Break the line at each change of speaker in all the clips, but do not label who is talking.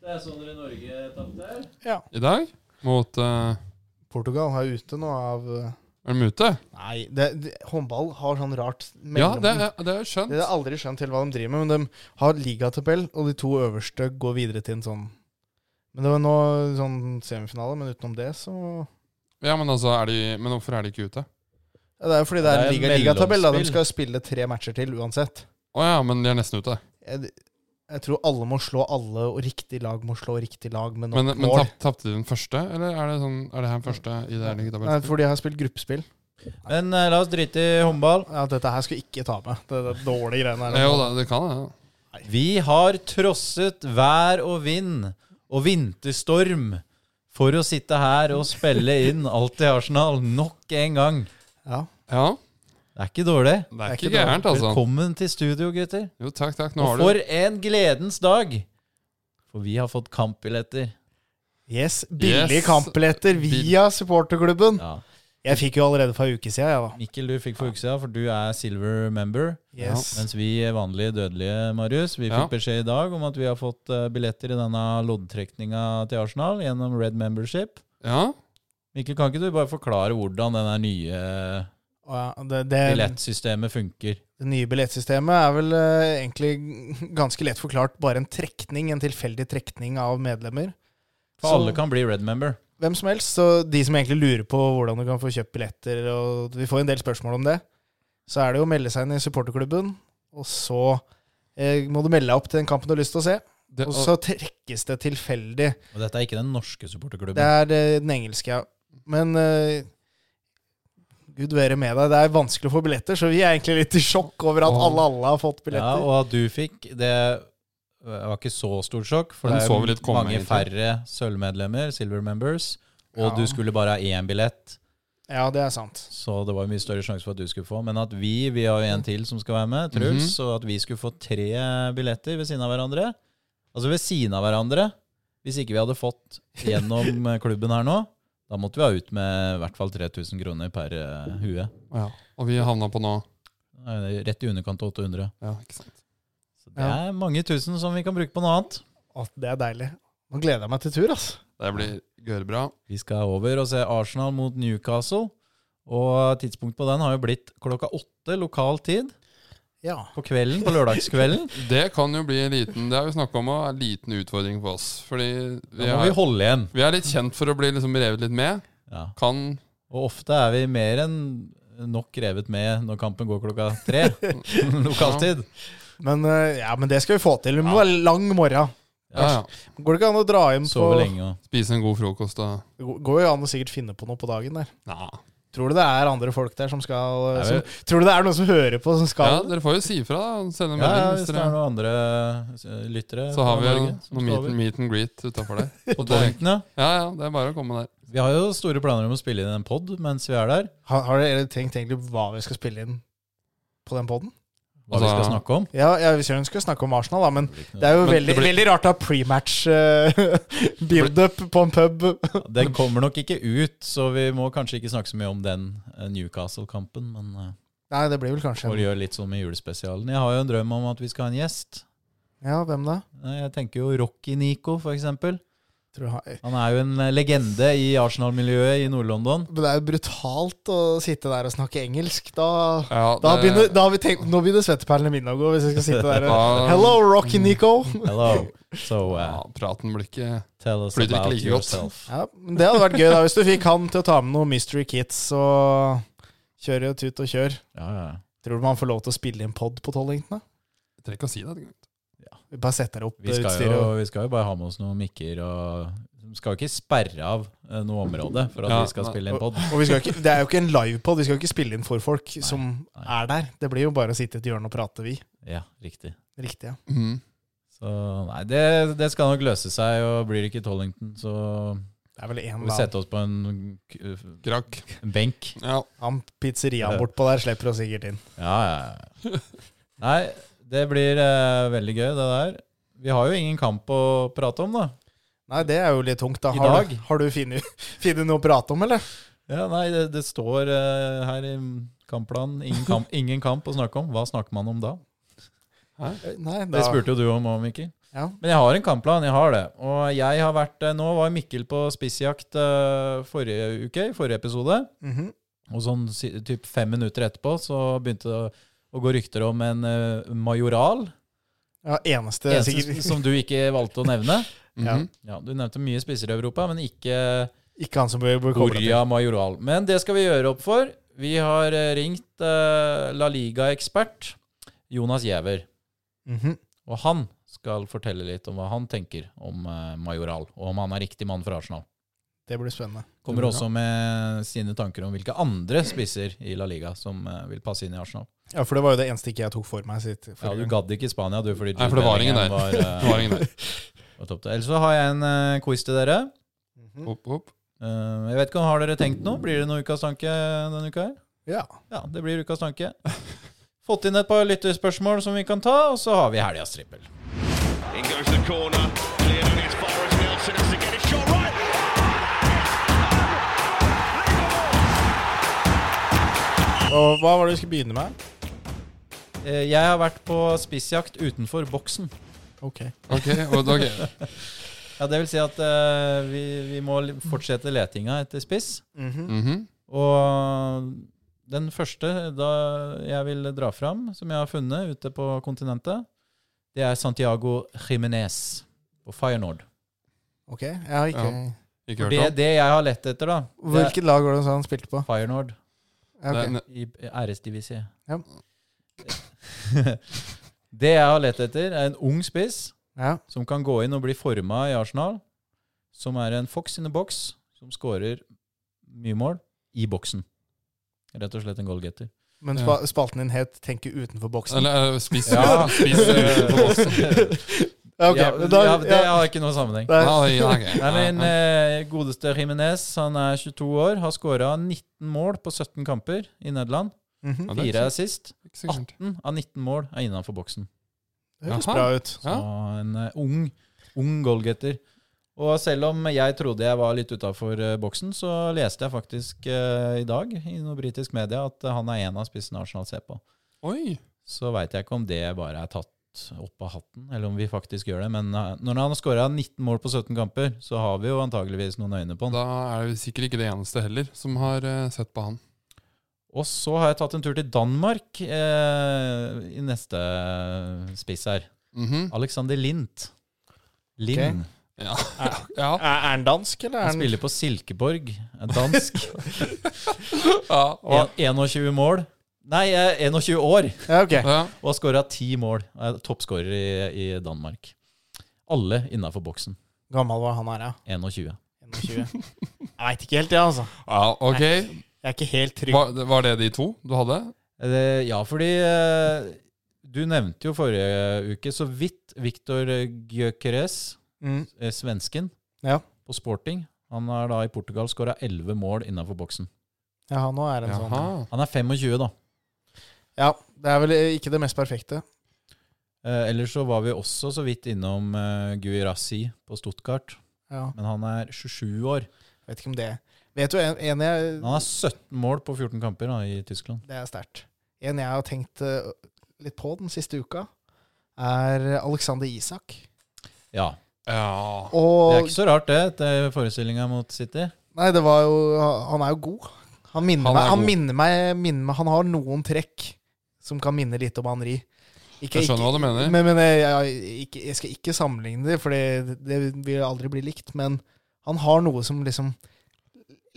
Det er sånn dere i Norge tapte her.
I dag? Mot eh,
Portugal er ute nå av eh,
Er de ute?
Nei, det, det, håndball har sånn rart
Ja,
mellom-
det, er- det har jeg
Det har
skjønt.
jeg aldri skjønt helt hva de driver med, men de har ligatabell, og de to øverste går videre til en sånn Men det var nå sånn semifinale, men utenom det, så ja,
Ja, Men altså, er de, men hvorfor er de ikke ute?
Det er jo fordi det er,
Det er
en liga
et
ligatabell, da. De
mellomspill.
skal spille tre matcher til uansett.
Å ja, men de er nesten ute.
Jeg, jeg tror alle må slå alle, og riktig lag må slå riktig lag med nok
Men, men
mål.
tap, tapte de den første, eller er det, sånn, er det her første i det her
Nei,
ligatabellen?
for de har spilt gruppespill.
Men eh, la oss drite i håndball.
Ja, dette her skal jeg ikke ta med. Det, det er dårlige greiene her.
Jo da, det kan det. Ja.
Vi har trosset vær og vind og vinterstorm for å sitte her og spille inn alt i Arsenal nok en gang.
Ja.
ja.
Det er ikke dårlig.
Det er
ikke
ikke gærent, altså.
Velkommen til studio, gutter.
Jo, takk, takk. Nå
Og
har du
for en gledens dag! For vi har fått kampbilletter.
Yes, billige
Yes.
kampbilletter via supporterklubben.
Ja.
Jeg fikk jo allerede for en uke siden, jeg,
Mikkel, du fikk for uke siden, for du er silver member.
da. Yes.
Mens vi vanlige dødelige, Marius, vi fikk
Ja.
beskjed i dag om at vi har fått eh, billetter i denne loddtrekninga til Arsenal gjennom Red Membership.
Ja?
Mikkel, kan ikke du bare forklare hvordan denne nye
Og ja, det, det,
billettsystemet funker?
Det nye billettsystemet er vel eh, egentlig ganske lett forklart bare en trekning, en tilfeldig trekning av medlemmer.
For
Så-
alle kan bli Red Member.
Hvem som helst. Så de som egentlig lurer på hvordan du kan få kjøpt billetter, og vi får en del spørsmål om det, så er det jo å melde seg inn i supporterklubben, og så eh, må du melde deg opp til den kampen du har lyst til å se,
Det,
og så trekkes det tilfeldig.
Og dette er ikke den norske
Det
supporterklubben.
er eh, den engelske, ja. Men eh, gud være med deg, det er vanskelig å få billetter, så vi er egentlig litt i sjokk over at
Åh.
alle, alle har fått
Ja,
billetter.
og at du fikk, det eh, var ikke så stort sjokk, for
Den
det er
så vi litt
jo
komme,
mange
egentlig.
færre sølvmedlemmer, silver members, og
Ja.
du skulle bare ha én billett.
Ja, det er sant.
Så det var jo mye større sjanse for at du skulle få. Men at vi vi har jo en til som skal være med, Truls, og at vi skulle få tre billetter ved siden av hverandre Altså ved siden av hverandre. Hvis ikke vi hadde fått gjennom eh, klubben her nå, da måtte vi ha ut med i hvert fall 3000 kroner per eh, hue.
ja. Og vi havna på nå.
Eh, Rett i underkant av 800.
Ja, ikke sant.
Så det er mange tusen som vi kan bruke på noe annet.
At det er deilig. Nå gleder jeg meg til tur, altså.
Det blir gørrbra.
Vi skal over og se Arsenal mot Newcastle. Og tidspunktet på den har jo blitt klokka åtte lokal tid
Ja.
på kvelden, på lørdagskvelden.
Det kan jo bli en liten Det har vi snakka om, og en liten utfordring for oss. Fordi vi
Da må vi
er,
holde igjen.
vi er litt kjent for å bli liksom revet litt med.
Ja.
Kan
Og ofte er vi mer enn nok revet med når kampen går klokka tre lokaltid.
Men, eh, ja, men det skal vi få til. Vi må ha lang morgen.
ja, ja.
Går det ikke an å dra hjem på
Sove lenge og
spise en god frokost og
Det går jo an å sikkert finne på noe på dagen der.
Nja.
Tror du det er andre folk der som skal eh,
Er
som, Tror du det er noen som hører på, som
Ja,
skal
dere får jo si ifra, da. Sende en
ja, ja,
melding.
Hvis
hvis
det er
dere,
noen andre eh, lyttere
så har vi
fra
jo
Norge som
noe
skal
meet,
over.
meet and greet utafor der.
På
det er-
Torrington, ja.
Ja, ja, det er bare å komme der.
Vi har jo store planer om å spille inn en pod mens vi er der.
Har, har dere tenkt egentlig hva vi skal spille inn på den poden?
Hva vi
Altså-
skal snakke om.
Ja, jeg vil ikke snakke om Arsenal, da, men det er jo
Men det
veldig,
blir-
veldig rart å ha prematch eh, build-up på en pub.
Den kommer nok ikke ut, så vi må kanskje ikke snakke så mye om den eh, Newcastle-kampen. Men eh,
Nei, det blir vel kanskje
får
en
gjøre litt som i julespesialen. Jeg har jo en drøm om at vi skal ha en gjest.
Ja, hvem da?
Eh, Jeg tenker jo Rocky-Nico, for eksempel.
Tror du har
Han er jo en eh, legende i Arsenal-miljøet i Nord-London.
Men det er jo brutalt å sitte der og snakke engelsk. Da,
Ja,
da,
det-
begynner, da har vi tenkt, Nå begynner svetteperlene mine å gå, hvis jeg skal sitte der og
Ja,
Hello, Rocky Nico!
Hello. So uh,
Ja, praten blir ikke
tell us
Flyter ikke
about
like godt.
yourself.
Ja, men det hadde vært gøy da, hvis du fikk han til å ta med noen Mystery Kids og kjøre og tut og kjør.
Ja, ja.
Tror du man får lov til å spille inn pod på Tollington? da?
Jeg trenger ikke å si det. det er
Vi bare setter opp
Vi, skal
utstyret.
jo,
og-
vi skal jo bare ha med oss noen mikker og Vi skal jo ikke sperre av eh, noe område for at
Ja,
vi skal
nei.
spille en pod.
Og vi skal ikke, Det er jo ikke en livepod, vi skal ikke spille inn for folk
Nei,
som
nei.
er der. Det blir jo bare å sitte i et hjørne og prate, vi.
Ja, riktig.
Riktig, ja.
greit. Mhm.
Så nei, det, det skal nok løse seg, og blir det ikke Tollington, så
Det er vel
får
én
vi
eller
sette oss på en k- eh,
Krakk.
en benk.
Ja.
annen pizzeriaen bortpå der slipper oss sikkert inn.
Ja, ja, ja. Nei, det blir eh, veldig gøy, det der. Vi har jo ingen kamp å prate om, da.
Nei, det er jo litt tungt, da.
I
Har du,
dag?
har du funnet funnet noe å prate om, eller?
Ja, nei, det, det står eh, her i kampplanen ingen kamp, ingen kamp å snakke om. Hva snakker man om da?
Eh, Nei,
Det
da
spurte jo du om òg, Mikkel.
Ja.
Men jeg har en kampplan, jeg har det. Og jeg har vært eh, Nå var Mikkel på spissjakt eh, forrige uke, i forrige episode.
Mhm.
Og sånn si- typ fem minutter etterpå så begynte det å, å gå rykter om en eh, majoral.
ja eneste,
Eneste
sikkert.
som du ikke valgte å nevne.
Ja.
Mhm.
Ja, Du nevnte mye spisser i Europa, men ikke
Ikke han som bør bør komme til.
Borja Majoral. Men det skal vi gjøre opp for. Vi har eh, ringt eh, La Liga-ekspert Jonas Giæver.
Mhm.
Og han skal fortelle litt om hva han tenker om eh, Majoral, og om han er riktig mann for Arsenal.
Det blir spennende.
Kommer
Det blir
også med sine tanker om hvilke andre spisser i La Liga som eh, vil passe inn i Arsenal.
Ja, for det var jo det eneste ikke jeg tok for meg. Sitt,
Ja, Du
forrige gang.
gadd ikke Spania, du, fordi
Nei, for det var ingen der.
Bellingham var, eh,
Det var ingen der.
var topp der. Ellers så har jeg en eh, quiz til dere.
Mhm.
Hopp, hopp.
Eh, jeg vet ikke, om Har dere tenkt noe? Blir det noe Ukas tanke denne uka? her?
Ja.
Ja, det blir ukas tanke. Fått inn et par lytterspørsmål som vi kan ta, og så har vi helgas trippel.
In goes the corner. Cleared on as far as Nelson has to get a shot right.
Og hva var det du skulle begynne med?
Eh, Jeg har vært på spissjakt utenfor boksen.
Ok.
Ok, og, ok.
Ja, det vil si at eh, vi, vi må li- fortsette letinga etter spiss.
Mhm.
Mhm.
Og den første da jeg vil dra fram, som jeg har funnet ute på kontinentet, det er Santiago Jimenez på Feyenoord.
Ok, jeg har ikke
Ikke
For
hørt
Det
om.
det jeg har lett etter, da, det er
Hvilket lag var det han spilte på?
Feyenoord
Ja, ok.
Det-
i æresdivisie.
Ja.
det jeg har lett etter, er en ung spiss
Ja.
som kan gå inn og bli forma i Arsenal, som er en fox in the box, som skårer mye mål i boksen. Rett og slett en goalgetter.
Men spa spalten din het 'Tenke utenfor boksen'.
Eller eh, spiss
Ja.
Spiss eh, på oss.
Ja, ok,
ja,
men da-
ja, Ah, det
ja.
har ikke noe sammenheng.
Nei,
Ja, ja, ok.
Nei, men
Ja,
eh, Godeste Jimenez, han er 22 år, har skåra 19 mål på 17 kamper i Nederland.
mhm.
det
Fire
er
er sist.
ikke så gærent.
18 av 19 mål er innenfor boksen.
Det høres
Jaha.
bra ut.
Så en eh, ung, ung goalgetter. Og selv om jeg trodde jeg var litt utafor eh, boksen, så leste jeg faktisk eh, i dag i noe britisk media at eh, han er en av spissene Arsenal ser på.
Oi.
Så veit jeg ikke om det bare er tatt opp av hatten, eller om vi faktisk gjør det. Men eh, når han har skåra 19 mål på 17 kamper, så har vi jo antageligvis noen øyne på han.
Da er det sikkert ikke det eneste heller som har eh, sett på han.
Og så har jeg tatt en tur til Danmark eh, i neste eh, spiss her.
Mhm.
Alexander Lindt. Lind.
Ok.
Ja. ja.
Er er han dansk, eller er
Han
han
spiller på Silkeborg, er dansk.
ja.
En- 21 mål. Nei, eh, 21 år,
Ja, ok.
ja.
og har skåra 10 mål. Er Toppskårer i, i Danmark. Alle innafor boksen.
Gammel var han her, ja.
21.
21. Jeg veit ikke helt, jeg, ja, altså.
ja ok.
Jeg er ikke helt trygg.
Var, var det de to du hadde?
Eh, det- Ja, fordi eh, du nevnte jo forrige uke så vidt Viktor Gyökeres,
Mm.
eh, svensken,
Ja.
på sporting. Han har da i Portugal skåra 11 mål innafor boksen.
Jaha, nå er han
Jaha.
sånn.
Han er 25, da.
Ja, det er vel eh, ikke det mest perfekte.
Eh, ellers så var vi også så vidt innom eh, Guirassi på Stuttgart,
Ja,
men han er 27 år.
Vet ikke om det Vet du, en, en jeg
Han har 17 mål på 14 kamper da, i Tyskland.
Det er sterkt. En jeg har tenkt eh, litt på den siste uka, er Alexander Isak.
Ja,
Ja.
Det er
Og
ikke så rart, det, etter forestillinga mot City.
Nei, det var jo Han er jo god. Han minner
Han er
meg, han,
god.
minner meg, minner meg Han har noen trekk som kan minne litt om Henri. Ikke,
Jeg skjønner hva du mener.
Men, men jeg, jeg, ikke, jeg skal ikke sammenligne det, for det, det vil aldri bli likt. Men han har noe som liksom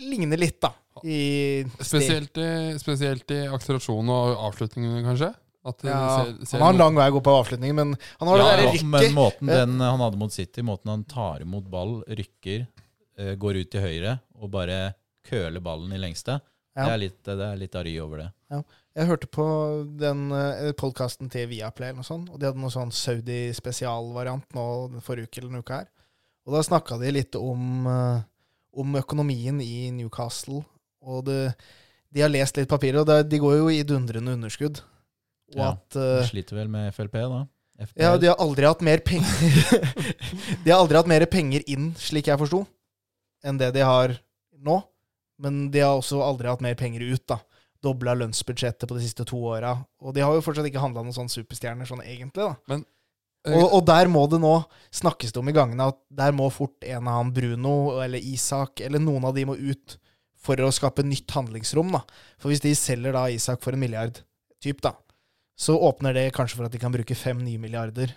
ligner litt, da. I steg.
Spesielt i, spesielt i akselerasjon og avslutningene, kanskje? At det
Ja,
ser, ser
han har en
noe-
lang vei å gå på avslutningen, men han har
Ja,
det
ja,
derre
men
rykket.
måten den eh, han hadde mot City, måten han tar imot ball, rykker, eh, går ut til høyre og bare køler ballen i lengste,
Ja.
det er litt, det er litt arry over det.
Jeg hørte på den podkasten til Viaplay, eller noe sånt, og de hadde noe sånn Saudi-spesialvariant nå den forrige uke eller denne uka her. Og da snakka de litt om, eh, om økonomien i Newcastle. Og det, de har lest litt papirer, og det, de går jo i dundrende underskudd. Og
Ja.
at
De
eh,
sliter vel med FLP, da? FPL.
Ja, de har aldri hatt mer penger De har aldri hatt mer penger inn, slik jeg forsto, enn det de har nå. Men de har også aldri hatt mer penger ut, da. Dobla lønnsbudsjettet på de siste to åra. Og de har jo fortsatt ikke handla noen sånne superstjerner sånn egentlig, da.
Men
Og, og der må det nå snakkes det om i gangene at der må fort en av han Bruno eller Isak eller noen av de må ut for å skape nytt handlingsrom. da. For hvis de selger da Isak for en milliard typ, da, så åpner det kanskje for at de kan bruke fem nye milliarder.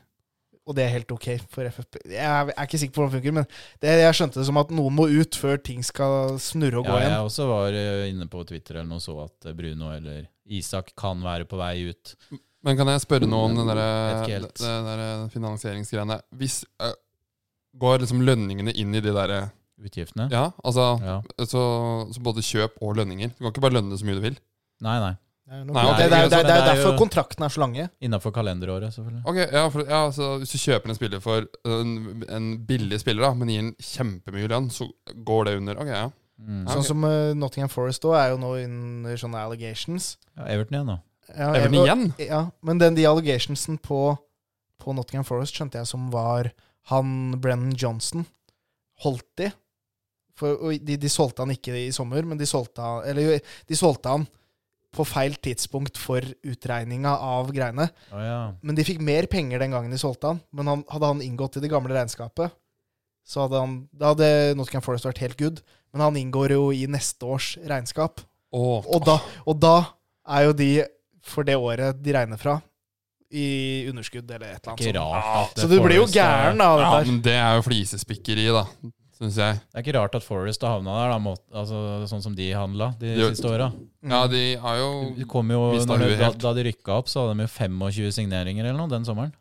Og det er helt ok for FFP. Jeg er, jeg er ikke sikker på hvordan det funker, men det, jeg skjønte det som at noen må ut før ting skal snurre og gå
Ja, jeg
igjen.
også var eh, inne på Twitter eller noe så at eh, Bruno eller Isak kan være på vei ut.
Men kan jeg spørre noe om den
Vet ikke
derre
helt.
den derre finansieringsgreiene? Hvis eh, Går liksom lønningene inn i de derre
Utgiftene.
Ja, altså
Ja.
så, så både kjøp og lønninger. Du kan ikke bare lønne så mye du vil.
Nei, nei.
Det er jo noe-
Nei,
det, det, er- det, er- det er
det er jo-
derfor kontrakten er så lange.
Innafor kalenderåret, selvfølgelig.
Ok, ja, for, ja, så Hvis du kjøper en spiller for eh, en, en billig spiller, da, men gir den kjempemye lønn, så går det under. Ok, ja.
Mm.
Ja.
Sånn
ok.
som eh, Nottingham Forest òg er jo nå under sånne allegations.
Ja, Everton igjen, da.
Ja,
Even
Ever-
igjen?
Ja, men den de allegationsen på, på Nottingham Forest skjønte jeg som var han Brennan Johnson. Holdt de? For, og de, de solgte han ikke i sommer, men de solgte, han- eller, jo, de solgte han på feil tidspunkt for utregninga av greiene.
Å ja.
Men de fikk mer penger den gangen de solgte han. Men han, hadde han inngått i det gamle regnskapet, så hadde han, da hadde Nottingham Forest vært helt good. Men han inngår jo i neste års regnskap.
Åh,
Og da, og da er jo de, for det året de regner fra, i underskudd eller et eller
Ikke
sånn-
annet sånt.
rart
Ah.
at
Så du blir jo
Forrest eh,
gæren
er,
av
ja,
dette her.
men det er jo flisespikkeri, da, syns jeg.
Det er ikke rart at Forest har havna der, da, må, altså, sånn som de handla de
Jo.
siste åra.
Mm.
Ja, de har jo
De kom jo,
Mistet
når de,
huet
da,
helt.
da de rykka opp, så hadde de jo 25 signeringer eller noe den sommeren.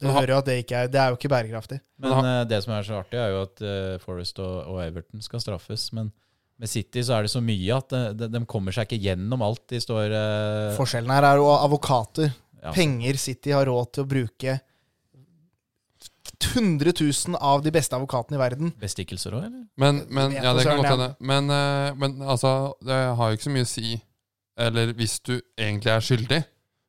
Du hører jo at det ikke er Det er jo ikke bærekraftig.
Men
Men
eh, det som er så artig, er jo at eh, Forest og, og Everton skal straffes. Men med City så er det så mye at eh, de, de kommer seg ikke gjennom alt de står eh,
Forskjellen her er jo advokater.
ja.
Penger City har råd til å bruke 100 000 av de beste advokatene i verden.
Bestikkelser òg, eller?
Men, men
vet
ja,
du
det kan
søren,
godt
ja.
hende. Men, eh, men altså, det har jo ikke så mye å si. Eller hvis du egentlig er skyldig,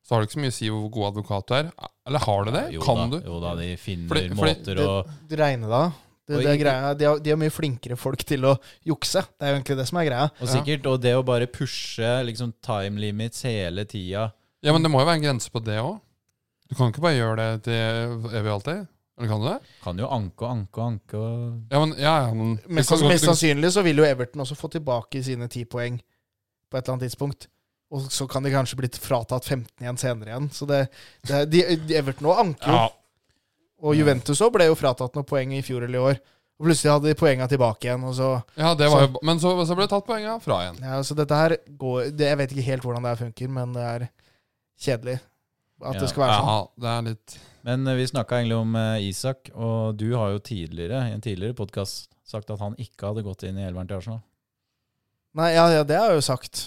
så har det ikke så mye å si hvor god advokat du er. Eller har du det?
Jo
kan
da,
du?
Jo da, de finner
Fordi- fordi
måter å
Du regner da. Det,
Og
det er
i-
greia. De, har, de er mye flinkere folk til å jukse. Det er jo egentlig det som er greia.
Og sikkert, og det å bare pushe liksom, time limits hele tida
Ja, men det må jo være en grense på det òg. Du kan ikke bare gjøre det til evig og alltid. Eller kan du det?
Kan jo anke og anke og anke og
Ja, men, ja, ja, men du
Mest,
kan godt-
mest
du-
sannsynlig så vil jo Everton også få tilbake sine ti poeng på et eller annet tidspunkt. Og så kan de kanskje bli fratatt 15 igjen senere igjen. Så det, det de, de Everton òg anker jo.
ja,
Og Juventus òg ble jo fratatt noen poeng i fjor eller i år. Og plutselig hadde de poenga tilbake igjen. Og så,
ja, det var jo Men så, så ble det tatt poenga fra igjen.
ja, så dette her går det, Jeg vet ikke helt hvordan det her funker, men det er kjedelig at
Ja.
det skal være sånn.
Ja, det er litt
Men eh, vi snakka egentlig om eh, Isak, og du har jo tidligere i en tidligere podkast sagt at han ikke hadde gått inn i elveren til Arsenal.
Nei, ja, ja, det har jeg jo sagt.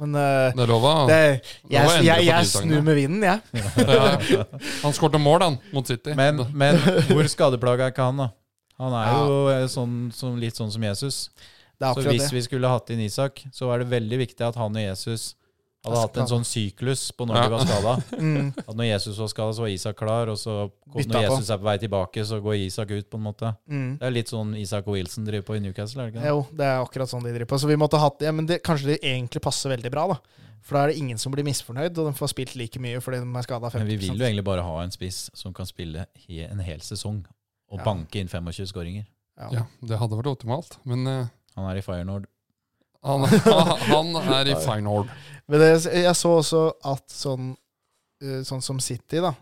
Men eh,
Det er lova.
det,
Nå må
jeg, jeg,
jeg endre på
jeg,
de
snur
sakene.
med vinden, jeg.
Ja. Han skårte mål, han, mot City.
Men, men hvor skadeplaga er ikke han, da? Han er
Ja.
jo eh, sånn, som, litt sånn som Jesus.
Det er
Så
akkurat
hvis
det.
vi skulle hatt inn Isak, så er det veldig viktig at han og Jesus hadde
Er
hatt en
skadet.
sånn syklus på når
Ja.
de var skada.
Mm.
At når Jesus var skada, så var Isak klar, og så kom,
Bytta på.
når Jesus er på vei tilbake, så går Isak ut, på en måte.
Mm.
Det er litt sånn Isak og Wilson driver på i Newcastle, er det ikke det?
Jo, det er akkurat sånn de driver på. Så vi måtte hatt ja, men det, Kanskje det egentlig passer veldig bra, da. For da er det ingen som blir misfornøyd, og de får spilt like mye fordi de er skada 50
Men vi vil jo egentlig bare ha en spiss som kan spille he en hel sesong og
Ja.
banke inn 25 skåringer.
ja.
Ja, det hadde vært optimalt, men eh,
Han er i Firenord.
han, han er i Feinhold.
Men det, jeg så også at sånn, eh, sånn som City, da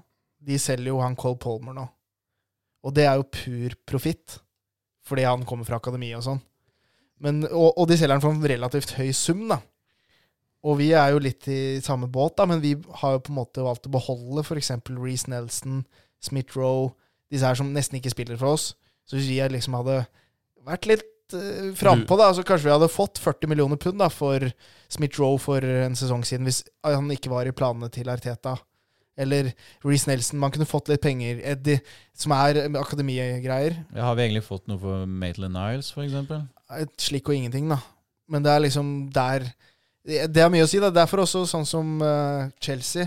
De selger jo han Cole Palmer nå. Og det er jo pur profitt, fordi han kommer fra akademiet og sånn. Men, og, og de selger han for en relativt høy sum, da. Og vi er jo litt i samme båt, da, men vi har jo på en måte valgt å beholde f.eks. Reece Nelson, Smith Roe, disse her som nesten ikke spiller for oss. Så hvis vi liksom hadde vært litt uh, frampå, da, så kanskje vi hadde fått 40 millioner pund da, for Smith Roe for en sesong siden, hvis han ikke var i planene til Arteta. Eller Reece Nelson. Man kunne fått litt penger. Eddie, som er akademigreier.
Ja, har vi egentlig fått noe for Maitland Niles, for eksempel?
et slikk og ingenting, da. Men det er liksom der Det det har mye å si. da Derfor også sånn som eh, Chelsea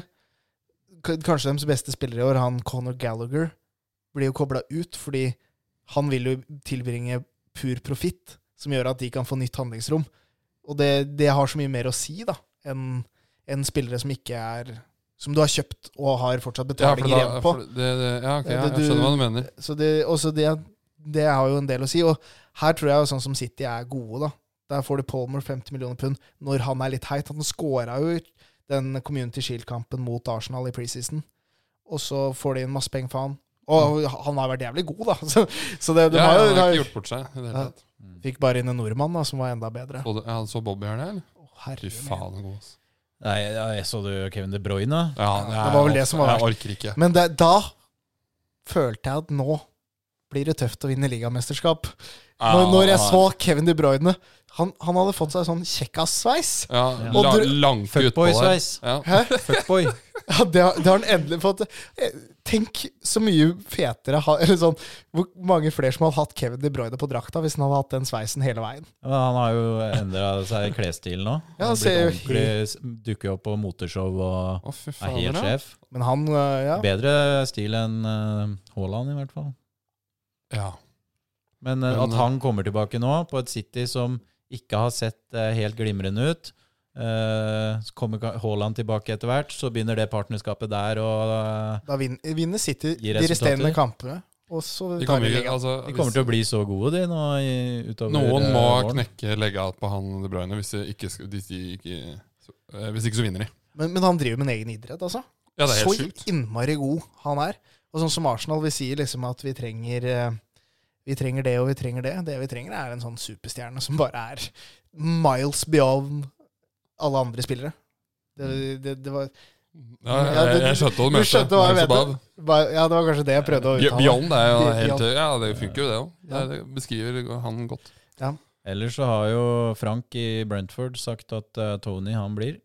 K Kanskje deres beste spiller i år, han Conor Gallagher, blir jo kobla ut fordi han vil jo tilbringe pur profitt, som gjør at de kan få nytt handlingsrom. Og det, det har så mye mer å si da enn enn spillere som ikke er som du har kjøpt og har fortsatt
Ja, for
betaling i
da,
rev på.
for det, det, ja, ok, ja,
Det-
jeg skjønner
du-
hva du mener.
Så det, også det, det har jo en del å si. Og her tror jeg jo sånn som City er gode, da. Der får du Palmer 50 millioner pund når han er litt heit. Han scora jo i den Community Shield-kampen mot Arsenal i preseason. Og så får de inn masse penger for han. Og han har vært jævlig god, da. Så, så det, de
Mm. Ja,
har jo,
han har ikke
har,
gjort bort seg. i Det hele
Ja.
tatt.
Fikk bare inn en nordmann da, som var enda bedre.
Så, du- ja, så Bobby her, eller?
Å,
Fy
herre min.
faen, han er god. ass.
Nei, ja, jeg så du Kevin De Bruyne? da?
Ja,
det var vel det som var
Jeg orker ikke.
Men det, da følte jeg at nå blir det tøft å vinne ligamesterskap. Når, når jeg så Kevin De Bruyne Han, han hadde fått seg sånn kjekkassveis.
ja,
Ja.
la,
Og du-
Langt utpå der.
Fuckboy-sveis.
Ja.
Hæ?
Fuckboy.
Ja, det, har, det har han endelig fått. Eh, Tenk så mye fetere ha- Eller sånn Hvor mange flere som hadde hatt Kevin De Bruyne på drakta hvis han hadde hatt den sveisen hele veien.
Ja, Han har jo endra seg i klesstil nå.
Ja,
Han har
han
blitt
ser jo
ordentlig s- Dukker opp på moteshow og
Å, fy
er
faen.
helt
da.
sjef.
Men han eh, ja.
Bedre stil enn eh, Haaland, i hvert fall.
Ja.
Men eh,
Men,
at han kommer tilbake nå, på et City som ikke har sett eh, helt glimrende ut eh, Så kommer ka- Haaland tilbake etter hvert, så begynner det partnerskapet der eh, å
Da vin- vinner City
Gir
de resterende
resultater.
kampene. Og så
De
tar
kommer,
de
ikke-
ligaen.
altså,
De kommer til å bli så gode, de, nå i, utover
Noen må
eh, våren.
knekke legga på han De Bruyne hvis de ikke, sk- hvis de ikke, så, eh, hvis ikke så vinner de.
Men, men han driver med en egen idrett, altså.
Ja, det er
så
helt sjukt.
innmari god han er. Og sånn som Arsenal, vi sier liksom at vi trenger eh, Vi trenger det og vi trenger det. Det vi trenger, er en sånn superstjerne som bare er miles beyond alle andre spillere. Det,
Mm.
det, det var
Ja,
Ja,
jeg,
det-
jeg skjønte hva du
Du
mente.
skjønte hva jeg
Miles
mente.
above.
bare- Ja, det var kanskje det jeg prøvde å
Be-
uttale.
Beyond er jo
Be-
helt
beyond.
Ja, det funker jo, det òg.
Ja.
Det beskriver han godt.
Ellers så har jo Frank i Brentford sagt at eh, Tony, han blir.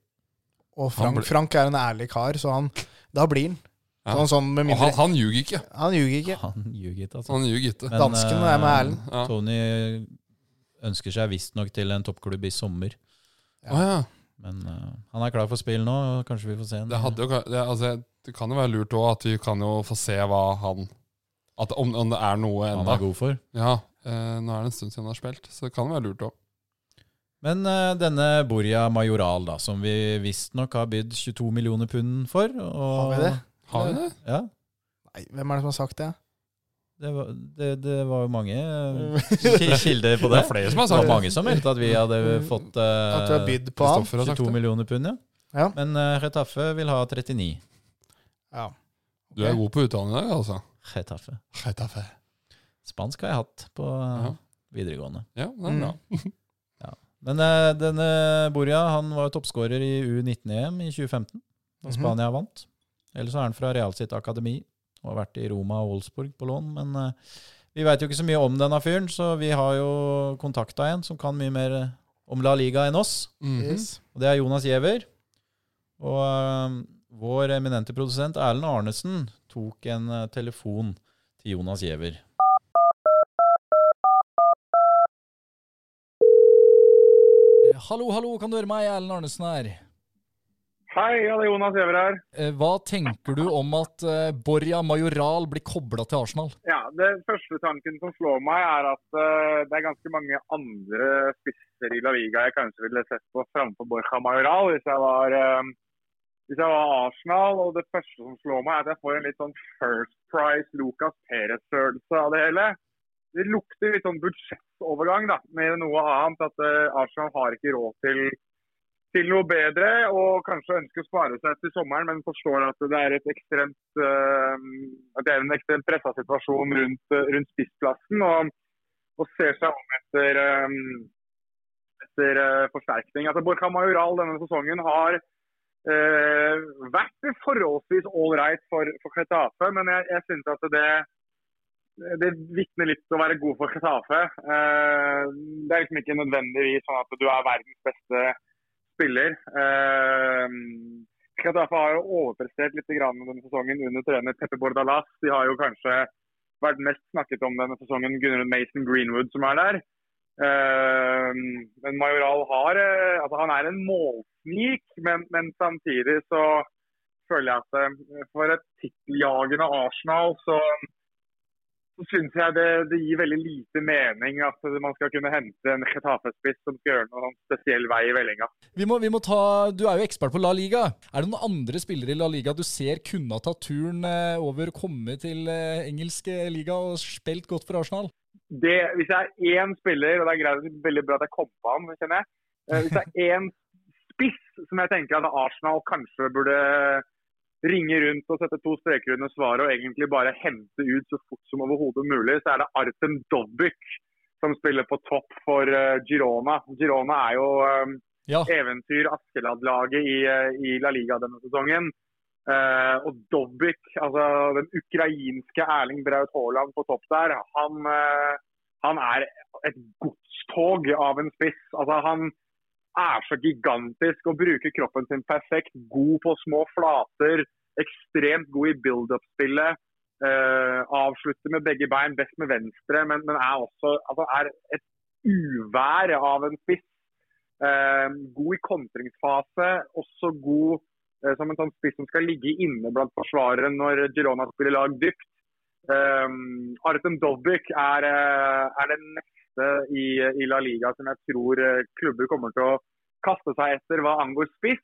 Og
Han ble-
Frank, Frank er en ærlig kar, så han Da blir han.
Ja.
Sånn, sånn med
Og han,
mindre
han ljuger ikke.
Han ljuger ikke.
Han ljuger ikke, altså.
Han ljuger ikke.
Men,
Dansken er med
eh,
Erlend.
Ja.
Tony ønsker seg visstnok til en toppklubb i sommer.
Å ja.
Men eh, han er klar for spill nå, og kanskje vi får se en
Det, hadde jo, ka- det, altså, det kan jo være lurt òg at vi kan jo få se hva han at om, om det er noe
han
ennå.
er god for.
Ja, eh, nå er det en stund siden han har spilt, så det kan være lurt òg.
Men eh, denne Borja Majoral, da, som vi visstnok har bydd 22 millioner pund for og,
Har vi det?
Har vi det?
Ja,
Nei, hvem er det som har sagt det?
det var, det, det var jo mange
Mm.
eh, ki- kilder på det.
Det er flere som har
Det
sagt
var
det.
mange som meldte at vi hadde fått eh,
At du har bydd på han?
Kristoffer har sagt
22
det.
millioner pund, ja.
Ja.
Men uh, Retaffe vil ha 39.
Ja.
Du er god på uttalen i dag, altså.
Retaffe.
Getafe.
Spansk har jeg hatt på eh,
Ja.
videregående.
Ja, det er bra.
Mm.
Men eh, denne Borja han var jo toppskårer i U19-EM i 2015, da
Mhm.
Spania vant. Ellers så er han fra Real sitt akademi og har vært i Roma og Wolfsburg på lån. Men eh, vi veit jo ikke så mye om denne fyren, så vi har jo kontakta en som kan mye mer eh, om La Liga enn oss.
Mhm.
Yes.
Og det er Jonas Giæver. Og eh, vår eminente produsent Erlend Arnesen tok en eh, telefon til Jonas Giæver.
Eh, Hallo, hallo, kan du høre meg? Erlend Arnesen her.
Hei, ja, det er Jonas Giæver her.
Eh, Hva tenker du om at eh, Borja Majoral blir kobla til Arsenal?
Ja, det første tanken som slår meg, er at eh, det er ganske mange andre spisser i La Liga jeg kanskje ville sett på framfor Borja Majoral hvis jeg var, eh, hvis jeg var Arsenal. Og det første som slår meg, er at jeg får en litt sånn First Price Lucas Perez-følelse av det hele. Det lukter litt sånn budsjettovergang, da, med noe annet. At eh, Arsenal har ikke råd til til noe bedre, og kanskje ønsker å spare seg til sommeren, men forstår at det er, et ekstremt, eh, at det er en ekstremt pressa situasjon rundt, eh, rundt spissplassen. Og, og ser seg om etter, eh, etter eh, forsterkning. Altså, Borcha Majoral denne sesongen har eh, vært forholdsvis ålreit for, for Ketafe, men jeg, jeg synes at det det vitner litt å være god for Ketafe. det er liksom ikke nødvendigvis sånn at du er verdens beste spiller. Eh, Kadafa har jo overprestert litt grann denne sesongen under trener Peppe Bordalas. De har jo kanskje vært mest snakket om denne sesongen Gunnarud Mason Greenwood som er der. Eh, men Majoral har, eh, altså han er en målsnik, men, men samtidig så føler jeg at eh, for et titteljagende Arsenal så så syns jeg det, det gir veldig lite mening at man skal kunne hente en Chetafe-spiss som skal gjøre noen spesiell vei i vellinga.
Vi må, vi må ta, Du er jo ekspert på La Liga. Er det noen andre spillere i La Liga du ser kunne ha tatt turen eh, over, komme til eh, engelske liga og spilt godt for Arsenal?
det, hvis det er én spiller, og det er greit, veldig bra at jeg kom på ham, kjenner jeg. Eh, Hvis det er én spiss som jeg tenker at Arsenal kanskje burde ringe rundt og sette to streker under svaret og egentlig bare hente ut så fort som overhodet mulig, så er det Artem Dobbik som spiller på topp for eh, Girona. Girona er jo eh,
Ja.
eventyr Askeladd-laget i, eh, i La Liga denne sesongen. Eh, og Dobbik, altså den ukrainske Erling Braut Haaland på topp der, han, eh, han er et godstog av en spiss. Altså han er så gigantisk og bruker kroppen sin perfekt. God på små flater, ekstremt god i build-up-spillet. eh, avslutter med begge bein, best med venstre, men, men er også altså er et uvær av en spiss. Eh, god i kontringsfase, også god eh, som en sånn spiss som skal ligge inne blant forsvarere når Girona spiller lag dypt. Eh, Artem Dobbik er, eh, er den neste i, i La Liga som jeg tror eh, klubber kommer til å kaste seg etter hva angår spiss.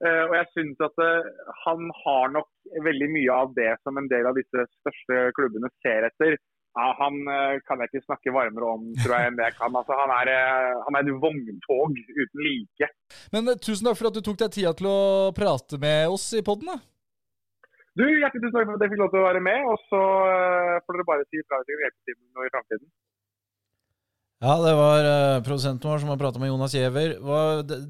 Eh, og jeg synes at eh, han har nok veldig mye av det som en del av disse største klubbene ser etter. Ja, han eh, kan jeg ikke snakke varmere om, tror jeg, enn det jeg kan. Altså, han, er, eh, han er et vogntog uten like.
Men eh, tusen takk for at du tok deg tida til å prate med oss i podden. da.
Du, hjertelig tusen takk for at jeg fikk lov til å være med. Og så eh, får dere bare si fra hvis dere vil hjelpe til med noe i framtiden.
Ja, det var eh, produsenten vår som har prata med Jonas Giæver. Var- det-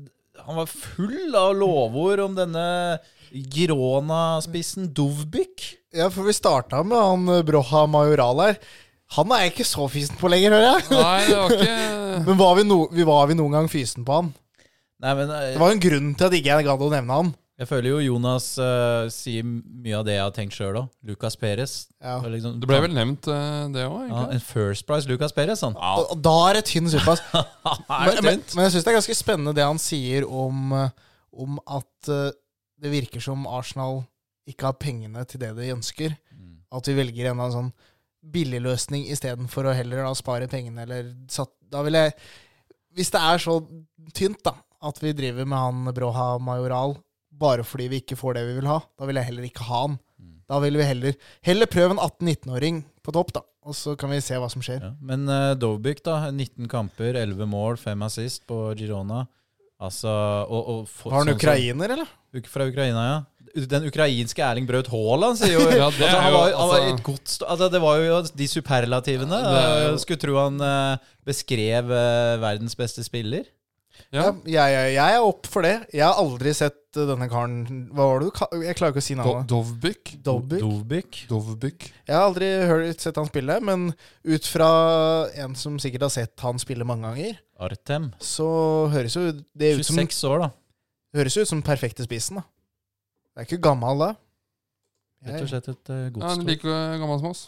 Han var full av lovord om denne Girona-spissen Dovbyk.
Ja, for vi starta med han eh, Broha Majoral her. Han er jeg ikke så fysen på lenger, hører jeg.
Nei, det var ikke
Men var vi, no, vi var vi noen gang fysen på han?
Nei, men eh,
Det var jo en grunn til at ikke jeg gadd å nevne han.
jeg føler jo Jonas eh, sier mye av det jeg har tenkt sjøl òg. Lucas Perez.
Ja.
Det var liksom-
Det ble vel nevnt, eh, det òg,
ja,
egentlig.
En First Price Lucas Perez, han.
Og, og da er det tynn suppe, ass.
Er
Men,
det
men,
tynt?
men jeg syns det er ganske spennende det han sier om, eh, om at eh, det virker som Arsenal ikke har pengene til det de ønsker.
Mm.
At vi velger en av en sånn billigløsning istedenfor å heller da spare pengene eller satt Da vil jeg Hvis det er så tynt, da, at vi driver med han Broha Majoral bare fordi vi ikke får det vi vil ha, da vil jeg heller ikke ha han.
Mm.
Da vil vi heller Heller prøve en 18-19-åring på topp, da, og så kan vi se hva som skjer.
Ja. Men uh, Dovbyk, da. 19 kamper, 11 mål, 5 assist på Girona. Altså, og, og for,
Var han
sånn som-
ukrainer, eller?
Uk- Fra Ukraina, ja. Den ukrainske Erling Braut Haaland sier jo
Ja, det
altså,
er
han,
jo,
var, han var
altså-
et godt sto- altså, Det var jo de superlativene.
Ja, det er jo-
Jeg Skulle tro han eh, beskrev eh, verdens beste spiller.
Ja.
Ja, jeg, jeg, jeg er opp for det. Jeg har aldri sett eh, denne karen Hva var det du ka- Jeg klarer ikke å si
Do-
navnet.
Dovbyk.
Dobby.
Dovbyk.
Dovbyk.
Jeg har aldri hørt, sett han spille, men ut fra en som sikkert har sett han spille mange ganger,
Artem.
så høres jo det ut som,
26 år, da,
høres jo ut som den perfekte spissen, da. Det er ikke gammel da.
rett og
Jeg,
slett et uh,
Ja, han er
godstog.
like eh, gammel som oss.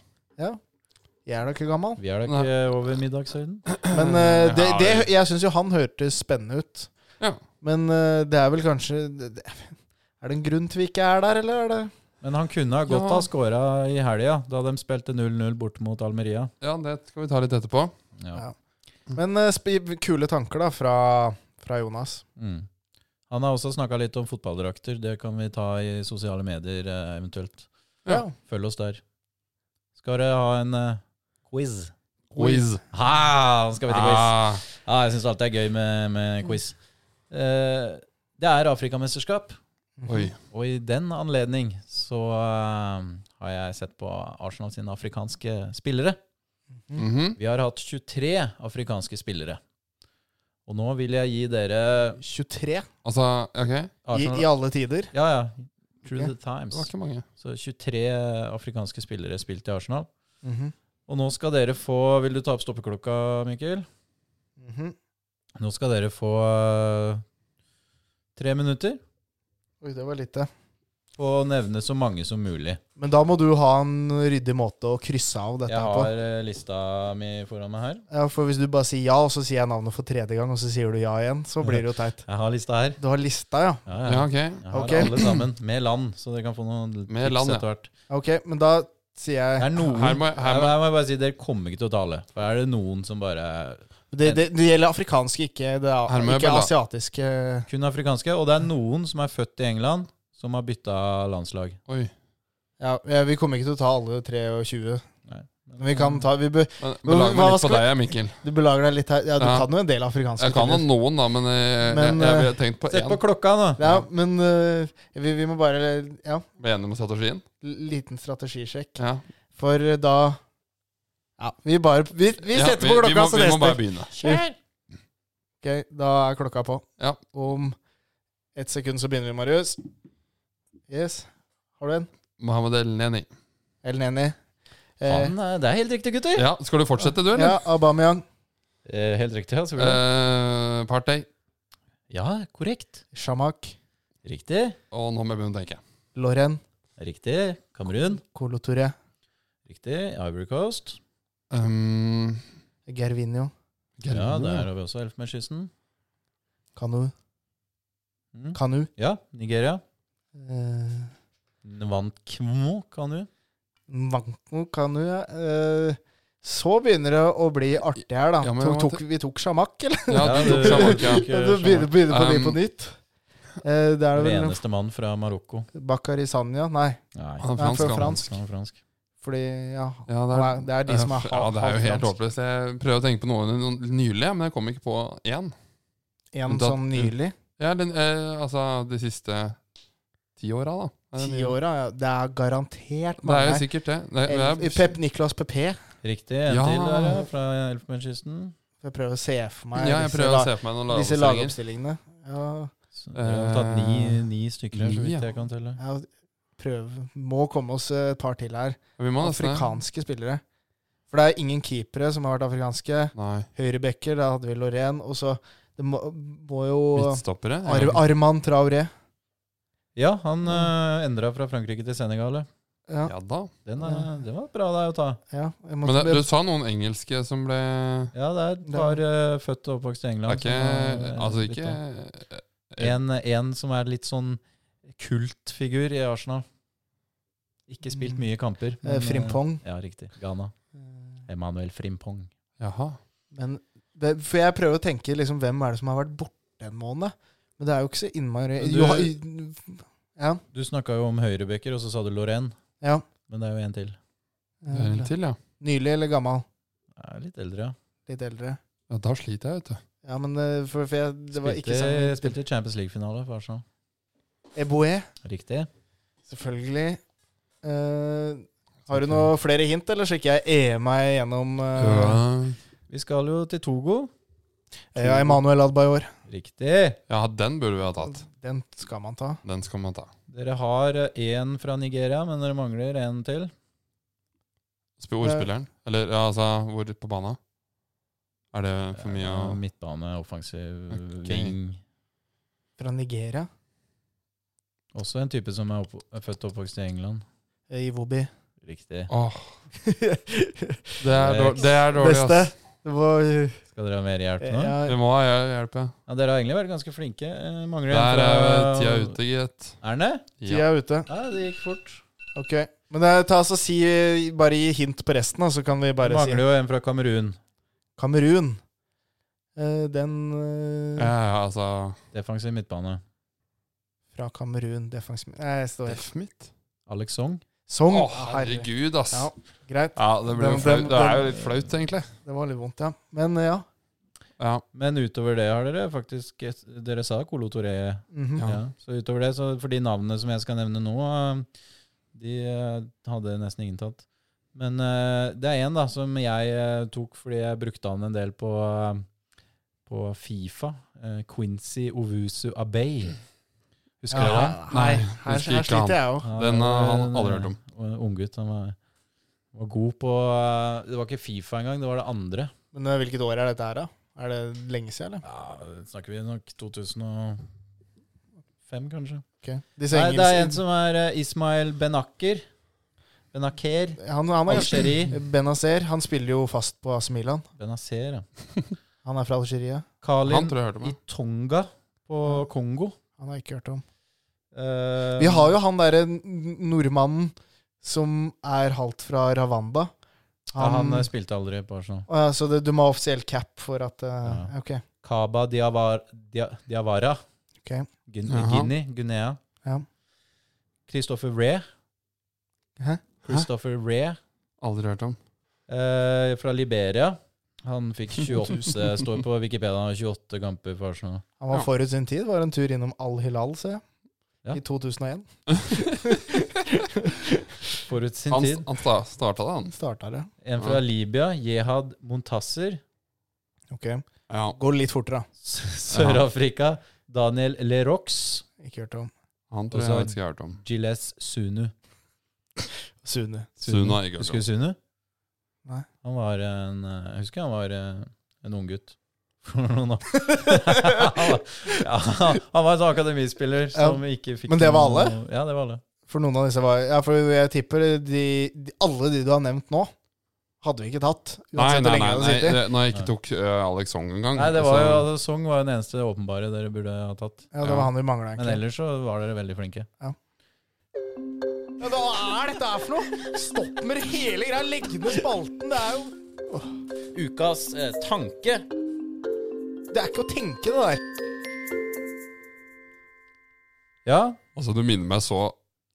jeg er da ikke gammel.
Vi er da ikke over middagshøyden.
Men eh, det,
Ja,
det,
ja.
jeg syns jo han hørtes spennende ut.
Ja.
Men eh, det er vel kanskje det, det, Er det en grunn til vi ikke er der, eller er det
Men han kunne ha godt
Ja.
ha skåra i helga, da de spilte 0-0 borte mot Almeria.
Ja, det skal vi ta litt etterpå.
Ja.
Men eh, sp- kule tanker, da, fra, fra Jonas.
Mm. Han har også snakka litt om fotballdrakter. Det kan vi ta i sosiale medier eh, eventuelt.
Ja.
Følg oss der. Skal dere ha en eh, quiz?
Quiz.
Ah, nå skal vi til quiz.
Ah,
Ah, jeg syns alltid det er gøy med, med quiz. Eh, det er Afrikamesterskap,
oi.
og i den anledning så eh, har jeg sett på Arsenal sine afrikanske spillere.
Mhm.
Vi har hatt 23 afrikanske spillere. Og nå vil jeg gi dere
23
Altså, ok.
i,
Arsenal
i alle tider.
Ja, ja. True
Ok.
the times.
Det var ikke mange.
Så 23 afrikanske spillere spilt i Arsenal. Mhm. Og nå skal dere få Vil du ta opp stoppeklokka, Mikkel?
Mhm.
Nå skal dere få eh, tre minutter
Oi, det var lite.
på å nevne så mange som mulig.
Men da må du ha en ryddig måte å krysse av dette
Jeg
her på.
har eh, lista mi foran meg her.
Ja, for hvis du bare sier ja, og så sier jeg navnet for tredje gang, og så sier du ja igjen, så blir det jo teit.
Jeg har lista her.
Du har lista, ja.
Ja, ja.
Ja, ok.
Jeg har
ok.
alle sammen, med land, så dere kan få noen
Med
tips
land, ja.
etter hvert.
Ok, men da sier jeg.
Det er noen,
Her må jeg- her må-
her må jeg bare si dere kommer ikke til å tale. For er det noen som bare
Det, det, det gjelder afrikanske, ikke, det, er-
Her må jeg
ikke
bare-
asiatiske.
Kun afrikanske. Og det er noen som er født i England, som har bytta landslag.
Oi.
Ja, ja, vi kommer ikke til å ta alle 23.
Nei.
Men vi kan ta vi be,
Men,
Men
belag meg
hva
litt
skal
på deg, Mikkel.
Du belager deg litt her. Ja, du
Ja.
kan jo en del afrikanske.
Jeg kan ha
til.
noen, da, men eh, jeg,
Men, eh,
jeg, jeg, jeg tenkte på
Sett
én.
på klokka, nå!
Ja, men øh, vi, vi må bare Ja,
Ble enig med strategien?
liten strategisjekk.
Ja.
For øh, da Ja, vi bare Vi, vi
Ja,
setter på
vi må,
klokka, så
vi må bare
neste.
begynne.
Ok, da er klokka på.
Ja.
Om ett sekund så begynner vi, Marius. Yes. Har du en?
Mohammed El Neni.
El Neni. Eh,
Faen, det er helt riktig, gutter.
Ja, skal du fortsette, du, eller?
ja, Aubameyang.
Eh, Helt riktig, ja. selvfølgelig.
Eh, Partey.
Ja, korrekt.
Shamak.
Riktig.
Og nå må jeg begynne å tenke.
Loren.
Riktig. Kamerun.
Colo Touré.
Riktig. Ivory Coast.
Um,
Gervinho.
Ja, der har vi også Elfenbenskysten.
Kanu.
Mm.
Kanu.
Ja, Nigeria.
Eh,
Nvankmo, kan du.
Manko kan du, ja. Eh, Så begynner det å bli artig her, da.
Ja, men
tok,
jeg må
tok, vi tok sjamakk, eller?
Ja, du tok
du-
Shamak, ja.
tok, eh,
Du begynner,
Shamak.
begynner på ny
Um,
på nytt. Eh, Det er
Den
det vel
eneste mannen fra Marokko.
Bakari Sanja Nei,
Nei,
Han
han er
er fransk,
fra
han.
fransk.
han er fransk.
Fordi, ja
Ja, det
Nei, det er de som er
Eh, Ja, det er jo
halvt
helt
fransk.
håpløst. Jeg prøver å tenke på noe noe nylig, men jeg kom ikke på én.
En
Da-
sånn nylig.
Ja, den, eh, altså de siste ti åra, da. Er det nylig?
Tiåra, ja. Det er garantert
Det er
mange
jo
her.
sikkert det. det, det
El-
er,
Pep Niklas PP.
Riktig. En
Ja.
til der, ja, fra Elfenbenskysten.
Jeg prøver å se for meg
ja, jeg
disse,
prøver å
la,
se for meg noen
disse lagoppstillingene.
lagoppstillinger.
Ja,
Så Vi har tatt ni,
Eh,
ni stykker her, så
ni, ja.
vidt jeg kan telle.
ja, prøv. Må komme oss eh, et par til her.
Vi må nesten
Afrikanske spillere. For det er ingen keepere som har vært afrikanske.
Nei.
Høyrebacker, da hadde vi Lorén. Og så det må, må jo
Midtstoppere?
Ar Arman Traoré.
Ja, han uh, endra fra Frankrike til Senegal. ja.
Ja,
Ja da.
Den, er, det var bra deg å ta.
ja. Jeg
Men
måtte,
det, du sa noen engelske som ble
Ja, det er et par eh, født og oppvokst i
Det
England.
er ikke
som er, eh,
Altså
litt
ikke
av- en, en som er litt sånn kultfigur i Arsenal. Ikke spilt
Mm.
mye kamper.
Eh,
men, eh,
Frimpong.
Ja, riktig. Ghana. Mm. Emanuel Frimpong.
Jaha.
Men det, for jeg prøver å tenke liksom, hvem er det som har vært borte en måned? Men det er jo ikke så innmari
Men du-
Jo, Ja.
Du snakka jo om høyrebekker, og så sa du Lorraine.
ja.
Men det er jo en til.
Det er en til, ja.
Nylig eller gammel?
Ja, litt eldre, ja.
Litt eldre.
ja. Da sliter jeg, vet du.
Ja, men eh, for, for jeg, det var ikke
Spilte,
sånn
spilte Champions League-finale for Arsenal.
Eboe,
Riktig.
selvfølgelig. Eh, har du noe flere hint, eller skal ikke jeg e meg gjennom eh,
Vi skal jo til Togo.
ja, Emanuel Adbayor?
Riktig.
Ja, den burde vi ha tatt.
Den skal man ta.
Den skal man ta.
Dere har én fra Nigeria, men dere mangler én til.
Sp- Ordspilleren? Eller ja, altså, hvor på banen? Er det for mye å
Ja, Eh, Midtbane, offensiv
Ok.
ving.
Fra Nigeria.
Også en type som er, opp, er født og oppvokst i England.
Eh, Iwobi.
Riktig.
Åh, det er dårlig, det er dårlig
Beste.
ass.
Det var
Skal dere ha mer hjelp nå? Ja.
Vi
Eh, ja,
må ha hjel- hjelp, ja.
dere har egentlig vært ganske flinke. Eh, Mangler en
Der er
fra
tida ute, gitt.
Er den det?
Tida
Ja.
er ute.
Ja, det gikk fort.
Ok. Men eh, ta så si eh, Bare gi hint på resten, da, så kan vi
Det
bare
mangler jo en fra Kamerun.
si Kamerun. Eh, den eh,
Ja, ja, altså
Defensiv midtbane.
fra Kamerun Defensiv Nei, jeg står
Deff mitt?
Alex Song.
Song.
Å,
herre.
herregud, ass.
Ja. Greit.
Ja, det, blir jo
Den-
flaut.
den-
det er jo
den-
litt flaut, egentlig.
Det var litt vondt, ja. Men eh, ja.
Ja.
Men utover det har dere faktisk Dere sa Colo Toré.
Mhm.
Ja. Så utover det, så for de navnene som jeg skal nevne nå, eh, de eh, hadde nesten ingen tatt. Men eh, det er én da, som jeg eh, tok fordi jeg brukte han en del på, eh, på Fifa. Eh, Quincy Ovusu Abey. Husker dere han?
Ja, Nei, her,
husker
her
ikke
sliter
han.
jeg òg.
Den har
var
han
en,
aldri hørt om.
eh, Unggutt. Han var, var god på eh, Det var ikke Fifa engang, det var det andre.
Men eh, hvilket år er dette her, da? Er det lenge siden, eller?
Ja, snakker vi nok 2005, kanskje.
Ok. Disse
Nei, det er en
engelske-
som er eh, Ismail Benakker. Benakker.
han, han er
Algerie.
Benazer, han spiller jo fast på AC Milan.
Benazer, ja.
Han er fra Algerie.
Kalin
Han tror jeg hørte meg.
Itonga på Kongo.
Han har jeg ikke hørt om.
Eh,
Vi har jo han derre n- nordmannen som er halvt fra Ravanda.
Ja, han eh, spilte aldri på Arsenal.
Å ja, så det, du må ha offisiell cap for at eh,
Ja.
Ok.
Kaba Diawar, Dia, Diawara.
Ok.
Gun,
Jaha.
Guinea. Guinea.
Ja.
Christopher Ree.
Hæ?
Christopher Ree
Aldri hørt om.
eh, fra Liberia. Han fikk 28 står på Wikipedia, han har 28 kamper for Arsenal.
Han var
Ja.
forut sin tid. Var en tur innom Al Hilal, ser jeg.
Ja.
I 2001.
Forut sin
Han,
tid.
han sta- starta det, han.
Starta det.
En fra Libya, Jehad Montasser.
Ok.
Ja.
Går litt fortere, da.
S- Sør-Afrika, Daniel Lerox.
Ikke hørt om
Han tror
Og så-
jeg faktisk jeg har hørt om.
Gilles Sunu.
Sune.
Sunu har jeg ikke hørt
Husker du Sunu?
Nei.
Han var en eh, Jeg husker han var eh, en ung gutt. For noen år Han var- ja, Han var en sånn akademispiller som ikke fikk
Men det var
noe-
alle?
Ja, det var alle.
For noen av disse var Ja, for jeg tipper de, de, alle de du har nevnt nå, hadde vi ikke tatt.
Nei,
Uansett
nei,
hvor lenge
nei, nei,
jeg hadde sittet.
det, når jeg ikke tok eh, Alex Song engang.
Nei, det var jo
så-
altså, Song var jo den eneste åpenbare dere burde ha tatt.
Ja, det var han vi mangla,
Men
egentlig.
ellers så var dere veldig flinke.
Ja, hva er dette her for noe? Stopp med det hele greia. Legg ned spalten. Det er jo
Ukas eh, tanke.
Det er ikke å tenke, det der.
Ja,
Altså, du minner meg så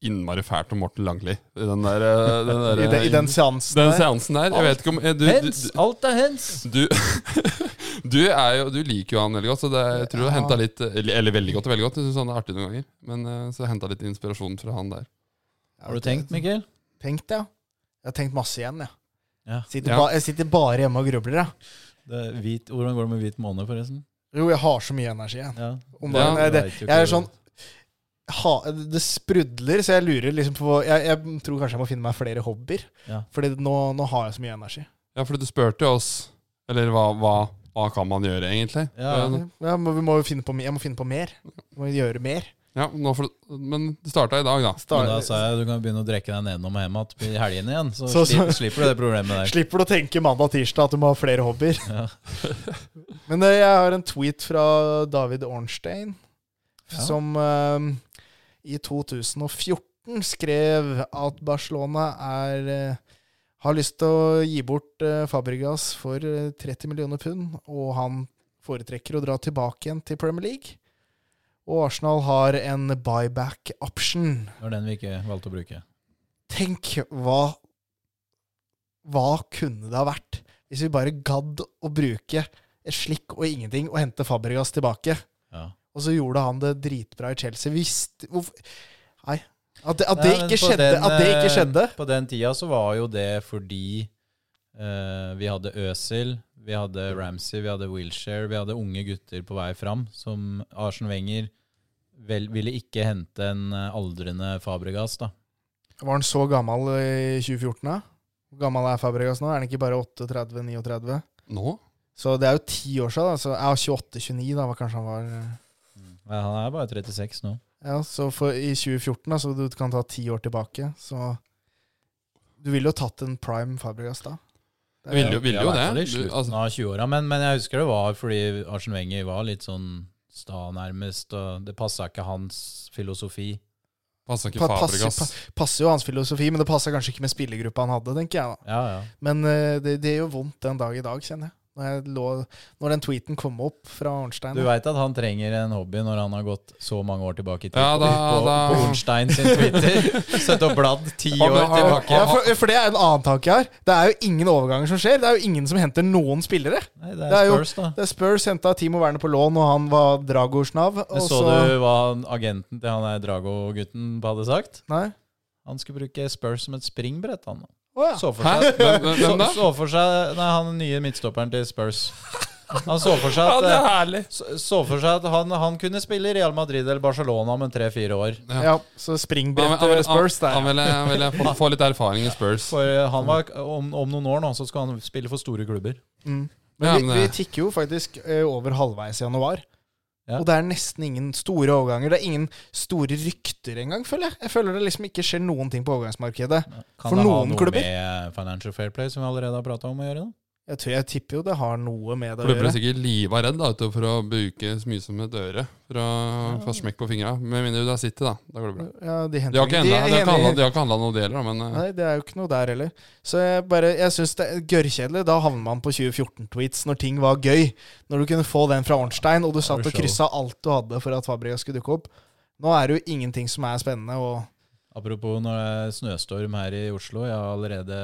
innmari fælt om Morten Langli i den der, eh, den der
I, den-
eh,
i den seansen
den
der.
seansen der. Jeg vet ikke om eh, du,
hens! Alt er hens!
du, du, du, er jo, du liker jo han veldig godt, så det, jeg tror du
Ja.
henta litt eh, Eller, eller veldig godt og veldig godt. Jeg syns han er artig noen ganger. Men eh, så henta litt inspirasjon fra han der.
Har du tenkt, Mikkel?
Tenkt, ja. Jeg har tenkt masse igjen, jeg.
Ja.
Sitter,
Ja.
Ba, jeg sitter bare hjemme og grubler, jeg.
Det, er hvit, hvordan går det med hvit måne, forresten?
Jo, jeg har så mye energi igjen.
Ja.
Om
Ja,
dagen, jeg, det,
vet jo ikke
jeg er
det.
sånn ha, Det sprudler, så jeg lurer liksom på jeg, jeg tror kanskje jeg må finne meg flere hobbyer.
Ja.
Fordi nå, nå har jeg så mye energi.
Ja, for du spurte jo oss Eller hva, hva, hva kan man gjøre, egentlig?
Ja,
Eh,
Ja, men vi må jo finne på, jeg må finne på mer. Jeg må gjøre mer.
ja nå får, du- men det starta i dag, da.
Men
Start-
da sa jeg du kan begynne å drikke deg nedenom og hjem igjen i helgene igjen. Så,
Så- så-
sli- slipper du det problemet der.
Slipper du å tenke mandag-tirsdag at du må ha flere hobbyer.
Ja.
Men eh, jeg har en tweet fra David Ornstein,
Ja.
som eh, i 2014 skrev at Barcelona er eh, har lyst til å gi bort eh, Fabregas for eh, 30 millioner pund, og han foretrekker å dra tilbake igjen til Premier League. Og Arsenal har en buyback option.
Det var den vi ikke valgte å bruke.
Tenk hva Hva kunne det ha vært hvis vi bare gadd å bruke et slikk og ingenting og hente Fabregas tilbake?
Ja.
Og så gjorde han det dritbra i Chelsea. Visst hvorfor, Nei. At det, at, det
Nei, men
ikke
på
skjedde,
den,
at det ikke
eh,
skjedde
På den tida så var jo det fordi eh, vi hadde Øsil, vi hadde Ramsey, vi hadde Wilshere, vi hadde unge gutter på vei fram, som Arsen Wenger vel, ville ikke hente en eh, aldrende Fabregas, da.
Var han så gammel i 2014, da? Hvor gammel er Fabregas nå? Er han ikke bare 38-39?
Nå?
Så det er jo ti år siden. Da. Så, ja, 28-29, da var kanskje han var
Men han er bare 36 nå.
Ja, så for, i 2014, da, så du kan ta ti år tilbake, så Du ville jo tatt en prime Fabregas da. Det er-
Ville jo, ville
Ja, i
jo
hvert fall
det.
i
Du,
slutten
altså,
av 20-åra, men, men jeg husker det var fordi Arsen Wenger var litt sånn sta, nærmest, og det passa ikke hans filosofi.
passa ikke
Pa- passer-
Fabregas.
passer jo hans filosofi, men det passer kanskje ikke med spillergruppa han hadde, tenker jeg da.
Ja, ja.
Men eh, det, det gjør vondt den dag i dag, kjenner jeg. Når, jeg lå, når den tweeten kom opp fra Arnstein.
Du veit at han trenger en hobby når han har gått så mange år tilbake i tid?
Ja, da,
på,
da.
på Ornstein sin Twitter. Sett og bladd ti
Ja,
år
men han-
tilbake.
ja, for, for det er en annen tanke jeg har. Det er jo ingen overganger som skjer. Det er jo ingen som henter noen spillere.
Nei, det
det er
er
jo-
Spurs, da.
Det er Spurs henta Timo Werner på lån, og han var Dragos nav.
Men
og
så du hva han- agenten til han der Drago-gutten hadde sagt?
Nei?
Han skulle bruke Spurs som et springbrett, han.
Å ja.
Så for
Hæ?
seg,
Hvem, hvem-
så,
hvem da?
så for seg Nei, han nye midtstopperen til Spurs. Han så for seg
Ja,
at,
det
eh,
er herlig.
så, så for seg at han, han kunne spille i Real Madrid eller Barcelona om en tre-fire år.
Ja, så springbrett til Spurs der.
Han ville, han ville få, få litt erfaring i Spurs.
For eh, han var, om, om noen år nå så skal han spille for store klubber.
Mm.
Ja,
Men vi,
men
vi
det-
tikker jo faktisk eh, over halvveis i januar.
Ja.
Og det er nesten ingen store overganger. Det er ingen store rykter engang, føler jeg. Jeg føler det liksom ikke skjer noen ting på overgangsmarkedet.
Kan
For
det ha
noen
noe eh,
klubber.
med Financial Fair Play, som vi allerede har prata om, å gjøre? da?
Jeg tror jeg tipper jo det har noe med det å
For du ble
gjøre.
sikkert liva redd da, vet du, for å bruke så mye som et øre for å få smekk på fingra. Med mindre du er City, da. Da går det bra.
Ja, de henter
De har ikke
de-
handla de, har ikke
de-
handlet- de har ikke handlet noe deler, da, men eh,
Nei, det er jo ikke noe der heller. Så jeg bare, jeg syns det er gørrkjedelig. Da havner man på 2014-tweets når ting var gøy. Når du kunne få den fra Ornstein, og du satt og
show.
kryssa alt du hadde for at Fabregas skulle dukke opp. Nå er det jo ingenting som er spennende, og
Apropos når det er snøstorm her i Oslo. Jeg har allerede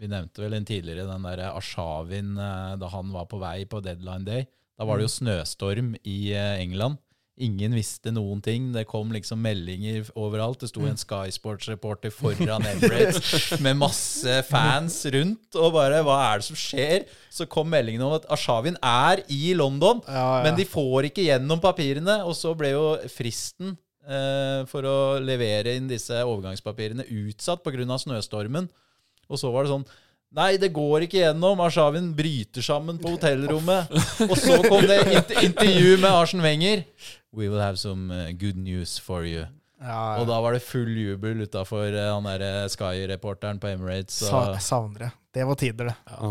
Vi nevnte vel en tidligere den der Ashavin eh, da han var på vei på deadline day. Da var det jo snøstorm i eh, England. Ingen visste noen ting. Det kom liksom meldinger overalt. Det sto en Sky Sports-reporter foran Emirates med masse fans rundt og bare Hva er det som skjer? Så kom meldingen om at Ashavin er i London.
ja, ja.
Men de får ikke gjennom papirene, og så ble jo fristen eh, for å levere inn disse overgangspapirene utsatt pga. snøstormen. Og så var det sånn Nei, det går ikke gjennom. Arshavin bryter sammen på hotellrommet. Og så kom det et intervju med Arsen Wenger. We will have some eh, good news for you.
ja,
Og
ja.
da var det full jubel utafor eh, han derre Sky-reporteren på Emirates,
Sa,
og
savner det. Det var tider, det.
ja.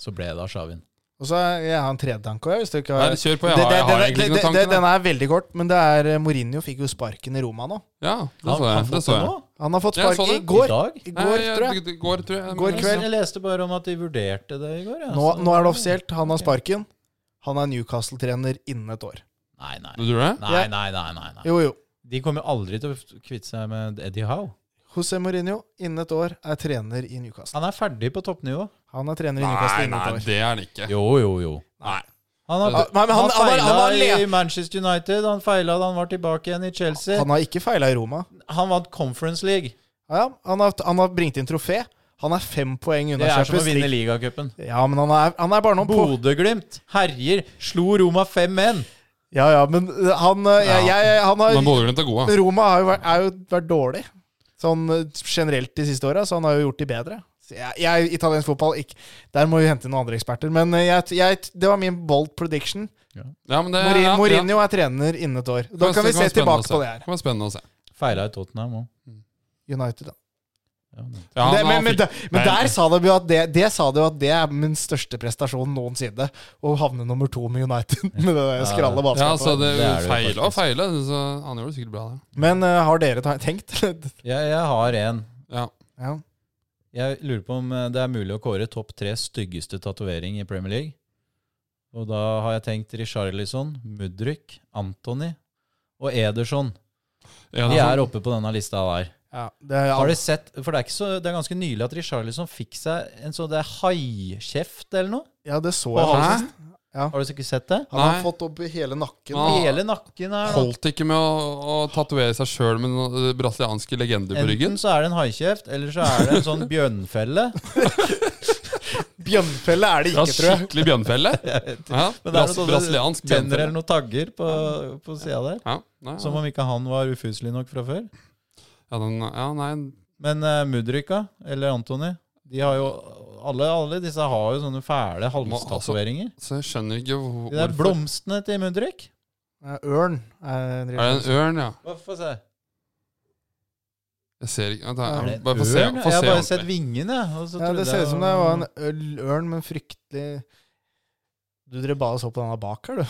så ble det Arshavin.
Og så har jeg en tredje tanke òg. Hvis du ikke har
Nei, kjør på. Jeg har, jeg har egentlig ikke noen tanker. da.
Den er veldig kort, men det er eh, Mourinho fikk jo sparken i Roma nå.
Ja, det så jeg. Det så jeg.
Han har fått
Jeg så
sparken i
det.
Går, I
går.
dag?
I
Nei,
går,
jeg-
tror jeg.
det Går, tror jeg.
Går kveld.
Jeg leste bare om at de vurderte det i går. Ja.
Nå,
så-
nå er det offisielt. Han har sparken. Han er Newcastle-trener innen et år.
Nei, nei.
Du tror det?
Nei, nei, nei, nei, nei.
Jo, jo.
De kommer jo aldri til å kvitte seg med Eddie Howe.
José Mourinho innen et år er trener i Newcastle.
Han er ferdig på toppnivå.
Han er trener i Newcastle
Nei,
innen
nei,
et år.
det er det ikke.
Jo, jo, jo.
Nei.
Han, har-
Ah, nei, men han-
han,
han var- han var
feila
le-
i Manchester United, han feila da han var tilbake igjen i Chelsea. Han,
Han har ikke feila i Roma.
vant Conference League.
Ja, ja. han, har, han har bringt inn trofé. Han er fem poeng
Det
unna
er som å
Champions
vinne
League.
ligacupen.
Ja, men han er, han er bare noen på.
Bodø-Glimt herjer, slo Roma 5-1.
Ja, ja, men uh, han, uh, jeg,
Ja.
jeg, han
Men
har,
Bodø-Glimt er gode.
Roma har jo vært, er jo vært dårlig sånn uh, generelt de siste åra, så han har jo gjort de bedre. Så Jeg, jeg, italiensk fotball ikke, Der må vi hente inn noen andre eksperter. Men uh, jeg, jeg, det var min bold prediction.
Ja, men det,
Mourin-
ja, ja.
Mourinho er trener innen et år. Da
Det
kan vi se
være spennende å
tilbake på det
Det
her.
kan være spennende å se.
Feila i Tottenham òg.
United, da.
Ja, det-
Ja,
det,
men
men,
han
men,
fikk-
da, men
Nei.
der sa de jo at det, det sa de jo at det er min største prestasjon noensinne. Å havne nummer to med United med det der skralle
ja, så
basketballet.
det,
Det er det jo
feil og
faktisk.
feil, så han gjorde det sikkert bra. Det.
Men eh, har dere ta- tenkt?
Jeg, jeg har en.
Ja.
ja.
Jeg lurer på om eh, det er mulig å kåre topp tre styggeste tatovering i Premier League. Og da har jeg tenkt Richarlison, Mudryk, Anthony og Ederson.
Ja,
De
det
er
er sånn.
oppe på denne lista der.
ja det er,
Har du sett, for det er, ikke så, det er ganske nylig at Richarlison fikk seg en sånn det er haikjeft eller noe.
ja, det så
På
jeg.
Hæ?
faktisk.
Har du ikke sett det?
Han har
Nei.
fått opp i hele nakken.
Ja.
Hele nakken er
Ah. Holdt ikke med å, å tatovere seg sjøl med noen eh, brasilianske legender på ryggen?
Enten så er det en haikjeft, eller så er det en sånn bjørnfelle.
Bjørnfelle er det
Ja,
ikke, tror jeg.
skikkelig bjørnfelle? Ja,
Men det er
bras,
noen sånne
brasiliansk
tenner eller
bjørnfelle.
noen tagger på, på sida der.
Ja, nei,
Som om ikke han var ufuselig nok fra før.
ja, den, ja, nei,
Men uh, Mudrika eller Antony de har jo, alle, alle disse har jo sånne fæle halstatoveringer.
så jeg skjønner ikke hvor-
De der
Altså, hvorfor.
blomstene til Mudrik.
Ja, Ørn er en
Er det en ørn, ja?
Få se.
Jeg ser ikke vent,
Er det
jeg-
en
Bare få se.
ørn?
Få
Jeg har
se
bare
ordentlig.
sett vingene. og så
ja,
trodde
Det ser
jeg-
ut som det var en øl- ørn, men fryktelig Du Dere bare så på denne bak her, du.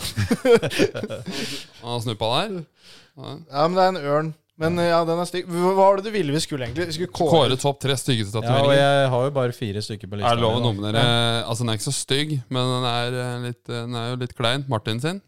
Han har snuppa der. Ja.
Ja, men det er en ørn. Men ja, den er stygg. Hva var det du ville vi skulle, egentlig? Vi skulle kåre
Kåre topp tre styggeste
Ja, og
tatoveringer.
jeg har jo bare fire stykker på lista.
er det lov å
mi, da.
nominere Altså, den er ikke så stygg, men den er, eh, litt, eh, den er jo litt klein. Martin sin.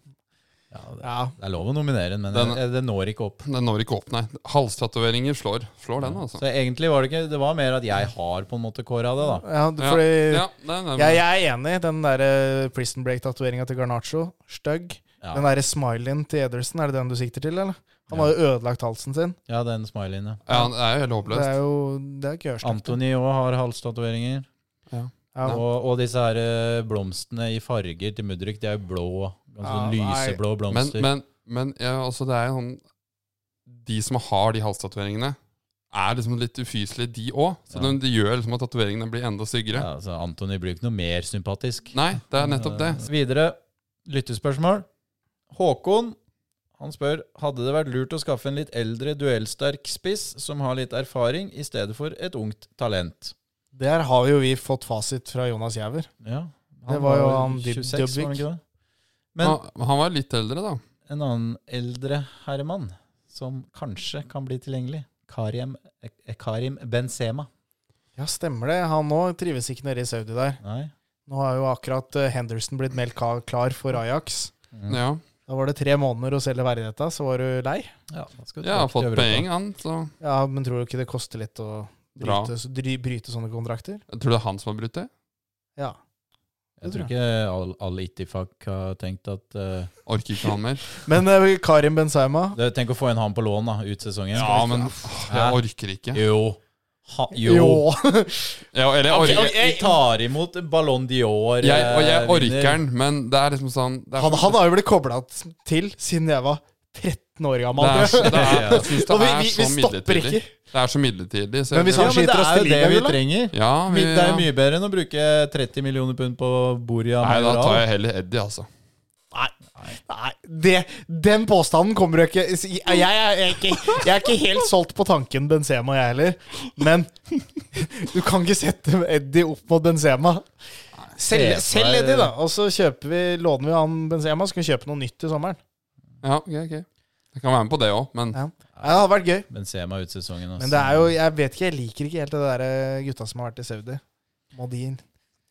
Ja, det-
Ja,
det er lov å nominere den, men
Den-
jeg- jeg- det når ikke opp.
Den når ikke opp, nei. Halstatoveringer slår. Slår den, altså.
Så egentlig var det ikke Det var mer at jeg har på en måte kåra det, da.
ja fordi
ja, nei, nei,
Ja, jeg er enig. Den derre Prison Break-tatoveringa til Garnaccio, stygg. Den
Ja,
derre smileyen til Ederson, er det den du sikter til, eller? Han har jo ødelagt halsen sin.
ja den smileyen, ja.
ja, den er jo
Det
helt håpløst.
er jo Det er ikke ørstøkt.
Antony òg har halstatoveringer.
Ja,
Og, og disse her eh, blomstene i farger til Mudrik, de er jo blå. Ganske sånn
Ja, nei.
lyseblå
Men,
blomster.
men, men ja, altså, det er jo sånn De som har de halstatoveringene, er liksom litt ufyselige, de òg.
Ja.
Så de, det gjør liksom at tatoveringene blir enda styggere.
ja, så Antony blir jo ikke noe mer sympatisk.
Nei, det er nettopp det.
Eh, Videre, lyttespørsmål. Håkon han spør hadde det vært lurt å skaffe en litt eldre duellsterk spiss som har litt erfaring, i stedet for et ungt talent.
Der har jo vi fått fasit fra Jonas Giæver.
Ja.
Det var jo
vel
han Dyb-
26, var han
Dybvik.
ikke det? Men-
han, han var litt eldre, da.
En annen eldre herremann som kanskje kan bli tilgjengelig. Karim, eh, Karim Benzema.
Ja, stemmer det. Han nå trives ikke nede i Saudi der.
Nei.
Nå har jo akkurat eh, Henderson blitt meldt ka- klar for Ajax.
Mm.
Ja,
Da var det tre måneder å selge verdigheta, så var du lei.
Ja, da skal du
jeg
tilbake
har
til
fått
Europa.
poeng, han. Så
Ja, men tror du ikke det koster litt å
Bra.
bryte, så- dry, bryte sånne kontrakter?
jeg tror det er han som har brutt det.
Ja.
Jeg tror ikke all- Al-Ittifak har tenkt at eh,
Orker ikke han mer.
Men eh, Karim Benzema
det- Tenk å få en han på lån da, ut sesongen.
Ja, men åh, jeg orker ikke.
Jo. Ha, jo.
Jo.
Ja, eller jeg
Ok,
orker
ok, Vi tar imot Ballon Dior.
jeg, og jeg
eh, vinner.
orker den, men det er liksom sånn det er,
han, han har jo blitt kobla til siden jeg var 13 år
det
gammel.
er, det er, jeg synes det
Og vi,
er
vi,
så
vi stopper
midlertidig.
ikke.
Det er så midlertidig. Så
Men hvis
Ja,
jeg,
han-
men det
skyter oss
er jo
til
det vi
ligaen, eller?
trenger.
ja, vi,
Det er jo mye bedre enn å bruke 30 millioner pund på Boria
Nei, da
Majoral.
tar jeg heller Eddie, altså.
Nei, nei det, den påstanden kommer jo ikke jeg, jeg, jeg, er ikke jeg er ikke helt solgt på tanken Benzema, jeg heller. Men du kan ikke sette Eddie opp mot Benzema.
Se
Selg
for
selg
deg-
Eddie, da. Og så kjøper vi, låner vi han Benzema, så kan vi kjøpe noe nytt til sommeren.
Ja, ok, ok Jeg kan være med på det òg, men
Ja. Ja, det hadde vært gøy.
Benzema ut sesongen. altså.
Men det er jo, jeg vet ikke, jeg liker ikke helt det der eh, gutta som har vært i Saudi. Modin.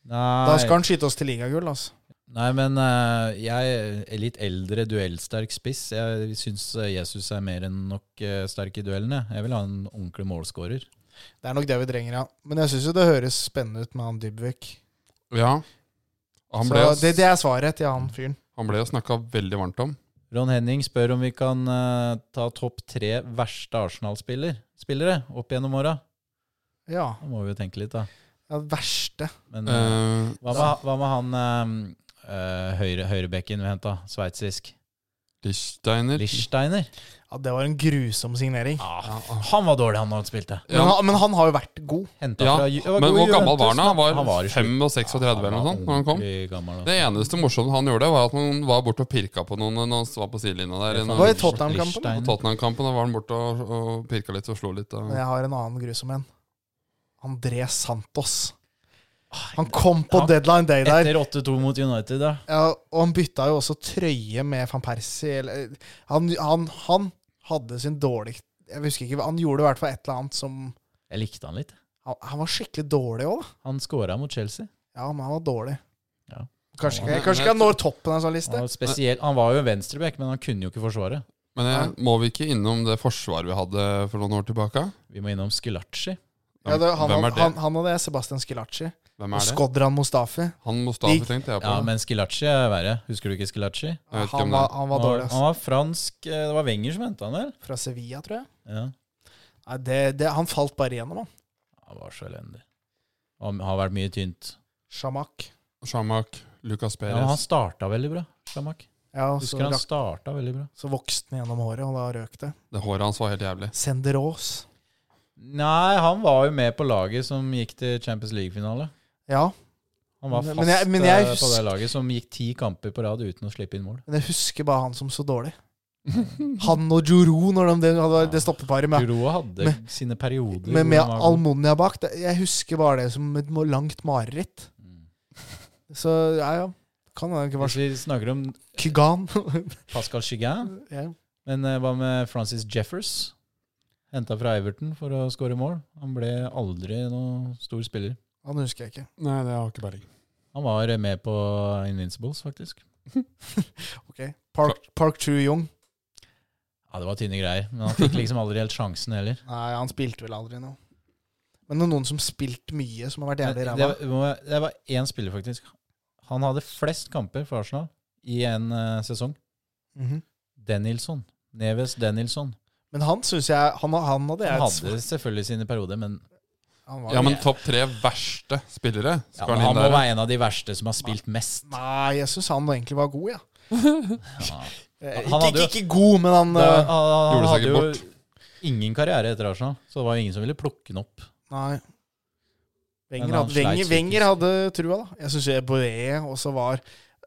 Nei,
Da skal han skyte oss til ligagull, altså.
Nei men eh, jeg er litt eldre, duellsterk spiss. Jeg syns eh, Jesus er mer enn nok eh, sterk i duellene. Jeg vil ha en ordentlig målskårer.
Det er nok det vi trenger, ja. Men jeg syns jo det høres spennende ut med han Dybvik.
ja. Han
Så
ble, jo-
det, det er svaret til han fyren.
han ble jo snakka veldig varmt om.
Ron Henning spør om vi kan eh, ta topp tre verste Arsenal-spillere opp gjennom åra.
Ja.
Da må vi jo tenke litt, da.
Ja, det verste.
Men eh,
Eh,
hva, med, hva med han eh, eh, høyre, høyrebekken vi henta? Sveitsisk.
Lichsteiner
Lichsteiner.
Ja, det var en grusom signering.
Ja, ah.
Han var dårlig, han, når han spilte.
Men,
ja,
han, men han har jo vært god.
Hentet
ja.
fra Ju- det var
Men
god
hvor gammel var han? da?
Juventus, men
Han var
i
35 eller noe sånt når han kom.
ordentlig Gammel, altså.
Det eneste morsomme han gjorde, var at han var borte og pirka på noen når han var på sidelinja der.
Det
Når-
var
Var det
litt-
Tottenham-kampen?
På
Lichsteiner.
Tottenham-kampen da var han borte og, og pirka litt og slo litt. Og...
Men jeg har en annen grusom en. André Santos. Han kom på deadline day der,
Etter 8-2 mot United, da.
ja, og han bytta jo også trøye med van Persie. Eller, han, han, han hadde sin dårlig Jeg husker ikke, hva- Han gjorde i hvert fall et eller annet som
Jeg likte han litt.
Han, han var skikkelig dårlig òg, da.
Han scora mot Chelsea.
Ja, men han var dårlig.
Ja.
Kanskje
Ja,
ikke,
men-
kanskje ikke han når toppen av en sånn
Han
liste.
var, spesiell, han var jo venstreback, men han kunne jo ikke forsvare.
Men jeg, må vi ikke innom det forsvaret vi hadde for noen år tilbake?
Vi må innom Skulacci.
Hvem,
Ja, det, han,
hvem
han,
er det?
han, han og det, Sebastian Skilacci.
hvem
Og
er det?
Skodran Mustafi.
Han Mustafi, tenkte jeg på.
Ja, men Skilacci er verre. Husker du ikke Skilacci?
Jeg vet ikke
Han
om
var,
det-
han var dårlig, altså. ass.
Han var fransk eh, Det var Wenger som henta han, vel?
Fra Sevilla, tror jeg.
Ja.
Nei, det, det, han falt bare igjennom, han.
Han var så elendig. Han har vært mye tynt.
Shamak.
Shamak, Lucas
Ja, men han
Perez.
starta veldig bra. Shamak.
Ja, og så,
Husker han
rakk-
starta veldig bra.
så vokste han gjennom håret, og da røk det.
det håret hans var helt jævlig.
Senderos.
Nei, han var jo med på laget som gikk til Champions League-finale.
Ja,
Han var fast
Men jeg- men jeg
eh, på det
husker-
laget som gikk ti kamper på rad uten å slippe inn mål.
men jeg husker bare han som så dårlig. Han og Juro, når de, det hadde det stoppeparet med,
Giroud hadde sine perioder
med,
hvor
med
han var god.
Almonia bak. Det, jeg husker bare det som et mo- langt mareritt.
Mm.
Så ja, ja. Kan hende det ikke var
Hvis vi snakker om
Kygan.
Pascal Chigain,
ja.
men eh, hva med Francis Jeffers? Henta fra Everton for å skåre mål. Han ble aldri noen stor spiller.
Han husker jeg ikke.
Nei, det har ikke peiling.
Han var eh, med på Invincibles, faktisk.
Ok. Park, Park Chu Jung.
Ja, Det var tynne greier, men han fikk liksom aldri helt sjansen heller.
Nei, han spilte vel aldri noe. Men det er noen som spilte mye, som har vært
Men
jævlig
Det,
ræva.
det var- det var én spiller, faktisk. Han hadde flest kamper for Arsenal i en eh, sesong.
Mhm.
Denilson. Neves Denilson.
Men han syns jeg Han, han hadde jeg
Han
et svar-
hadde selvfølgelig sine perioder, men
Han var
Ja, men topp tre verste spillere
ja,
skal
men
han
han
inn
må
der.
være en av de verste som har spilt mest.
Nei, jeg syns han egentlig var god, ja.
Ja.
Eh,
Han
Ikke,
hadde
ikke,
jo-
ikke god, men han
Da, han
eh,
han
Gjorde seg
hadde
ikke
jo ingen karriere etter Arsenal, så det var jo ingen som ville plukke han opp.
Nei.
Men
Wenger
han
hadde, Wenger,
sleit
Wenger
psykisk.
hadde trua, da. Jeg syns Boe også var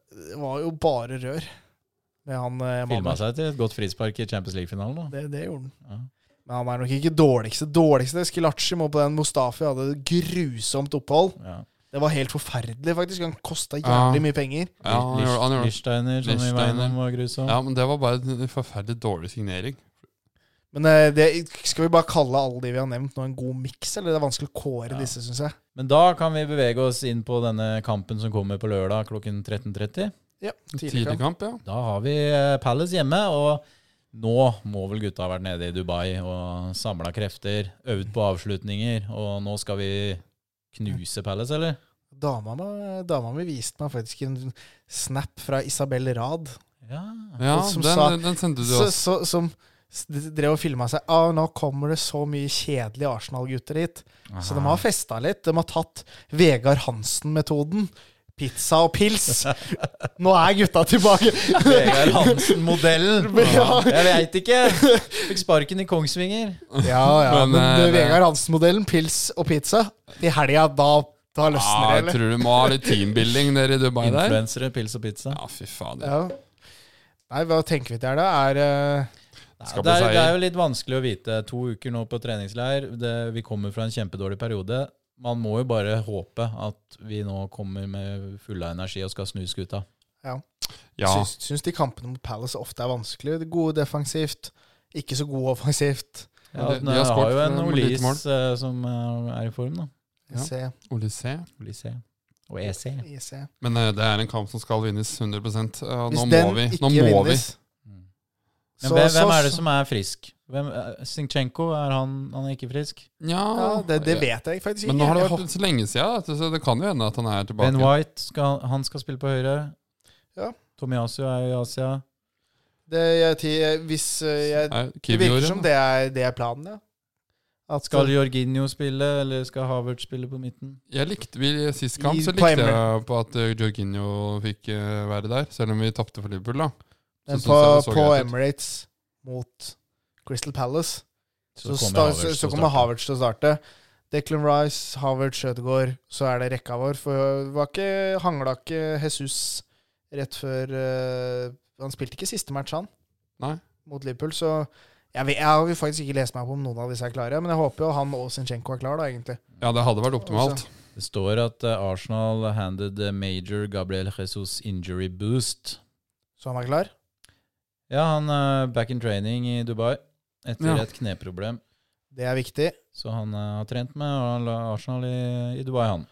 det var jo bare rør med han eh,
Filma
mannen.
seg til et godt frispark i Champions League-finalen. da.
Det, det gjorde han.
Ja.
Men han er nok ikke dårligste. Dårligste Skilacci må på den. Mustafi hadde et grusomt opphold.
Ja.
Det var helt forferdelig, faktisk. Han kosta
Ja.
jævlig mye penger.
Ja, han gjorde, han gjorde.
Lichsteiner, som vi var
Lichsteiner.
innom, var grusom.
ja, men det var bare en forferdelig dårlig signering.
Men eh, det, skal vi bare kalle alle de vi har nevnt nå, en god miks? Eller det er vanskelig å kåre disse, syns jeg.
Men da kan vi bevege oss inn på denne kampen som kommer på lørdag klokken 13.30.
Ja, tidlig kamp.
Tidligkamp, ja.
Da har vi eh, Palace hjemme, og nå må vel gutta ha vært nede i Dubai og samla krefter, øvd på avslutninger, og nå skal vi knuse Palace, eller?
Dama, mi- dama mi viste meg faktisk en snap fra Isabel Rad,
Ja.
ja
Og som
den,
sa-
den sendte du
så,
oss.
så, som s- drev og filma seg. Ah, 'Nå kommer det så mye kjedelige Arsenal-gutter hit.' Så de har festa litt. De har tatt Vegard Hansen-metoden. Pizza og pils. Nå er gutta tilbake!
Vegard Hansen-modellen.
Ja.
Jeg veit ikke. Fikk sparken i Kongsvinger.
Ja, ja.
Men,
Men,
eh,
eh, Vegard Hansen-modellen, pils og pizza, i helga, da, da
Ja,
løsner det,
Ah, jeg
eller?
tror du må ha litt teambuilding nede i Dubai der.
Influensere, pils og pizza.
Ja, fy fader.
Ja. Nei, hva tenker vi til her, da? Er eh,
Nei,
Skal
det,
på
er,
seier.
det er jo litt vanskelig å vite. To uker nå på treningsleir. Det, vi kommer fra en kjempedårlig periode. Man må jo bare håpe at vi nå kommer med full av energi og skal snu skuta.
Ja,
Syns, syns de kampene mot Palace ofte er vanskelige. Gode defensivt, ikke så gode offensivt.
Ja,
de- de
nå
har
har,
skåret
jo en
med lite
Olis eh, som eh, er i form, da.
Ja.
Se,
Ole C.
Olis E. Og EC.
vi se.
Men eh, det er en kamp som skal vinnes 100 og
Hvis
Nå må
den
vi.
ikke
Nå må vi.
vinnes
Mm. Men
så-
hvem,
så-
hvem er det som er frisk? Hvem, eh, Sinchenko, er han, han er ikke frisk?
Ja,
ja, det, det vet jeg faktisk ikke.
Men nå har det
Jeg
vært så lenge siden, vet du, så det kan jo hende at han er tilbake.
Ben White, skal, han skal spille på høyre.
Ja.
Tomiyasu er i Asia.
Det, jeg, ti- hvis eh, jeg,
Nei,
Det
Kiwi
virker
gjorde
som
det.
det er, det er planen, ja. At
Skal Jorginho spille, eller skal Havertz spille på midten?
Jeg likte, vi, sist kamp
I-
så
på
likte
Emre.
jeg på at eh, Jorginho fikk eh, være der, selv om vi tapte for Liverpool, da.
men
synes
på,
jeg det
på
så greit ut.
Emirates mot Crystal Palace, så, sta- så,
Havertz
så
og
kommer
starte.
Havertz til å starte. Declan Rice, Havertz, Ødegaard, så er det rekka vår. For var ikke, hangla ikke Jesus rett før eh, Han spilte ikke siste match, han,
Nei.
mot Liverpool, så jeg, vet, jeg har jo faktisk ikke lest meg på om noen av disse er klare, men jeg håper jo han og Zinchenko er klar, da, egentlig.
Ja, det hadde vært optimalt.
Det står at eh, Arsenal handed eh, major Gabriel Jesus injury boost.
Så han er klar.
Ja, han er back in training i Dubai etter
Ja.
et kneproblem.
Det er viktig.
Så han eh, har trent med Ar- Arsenal i, i Dubai, han.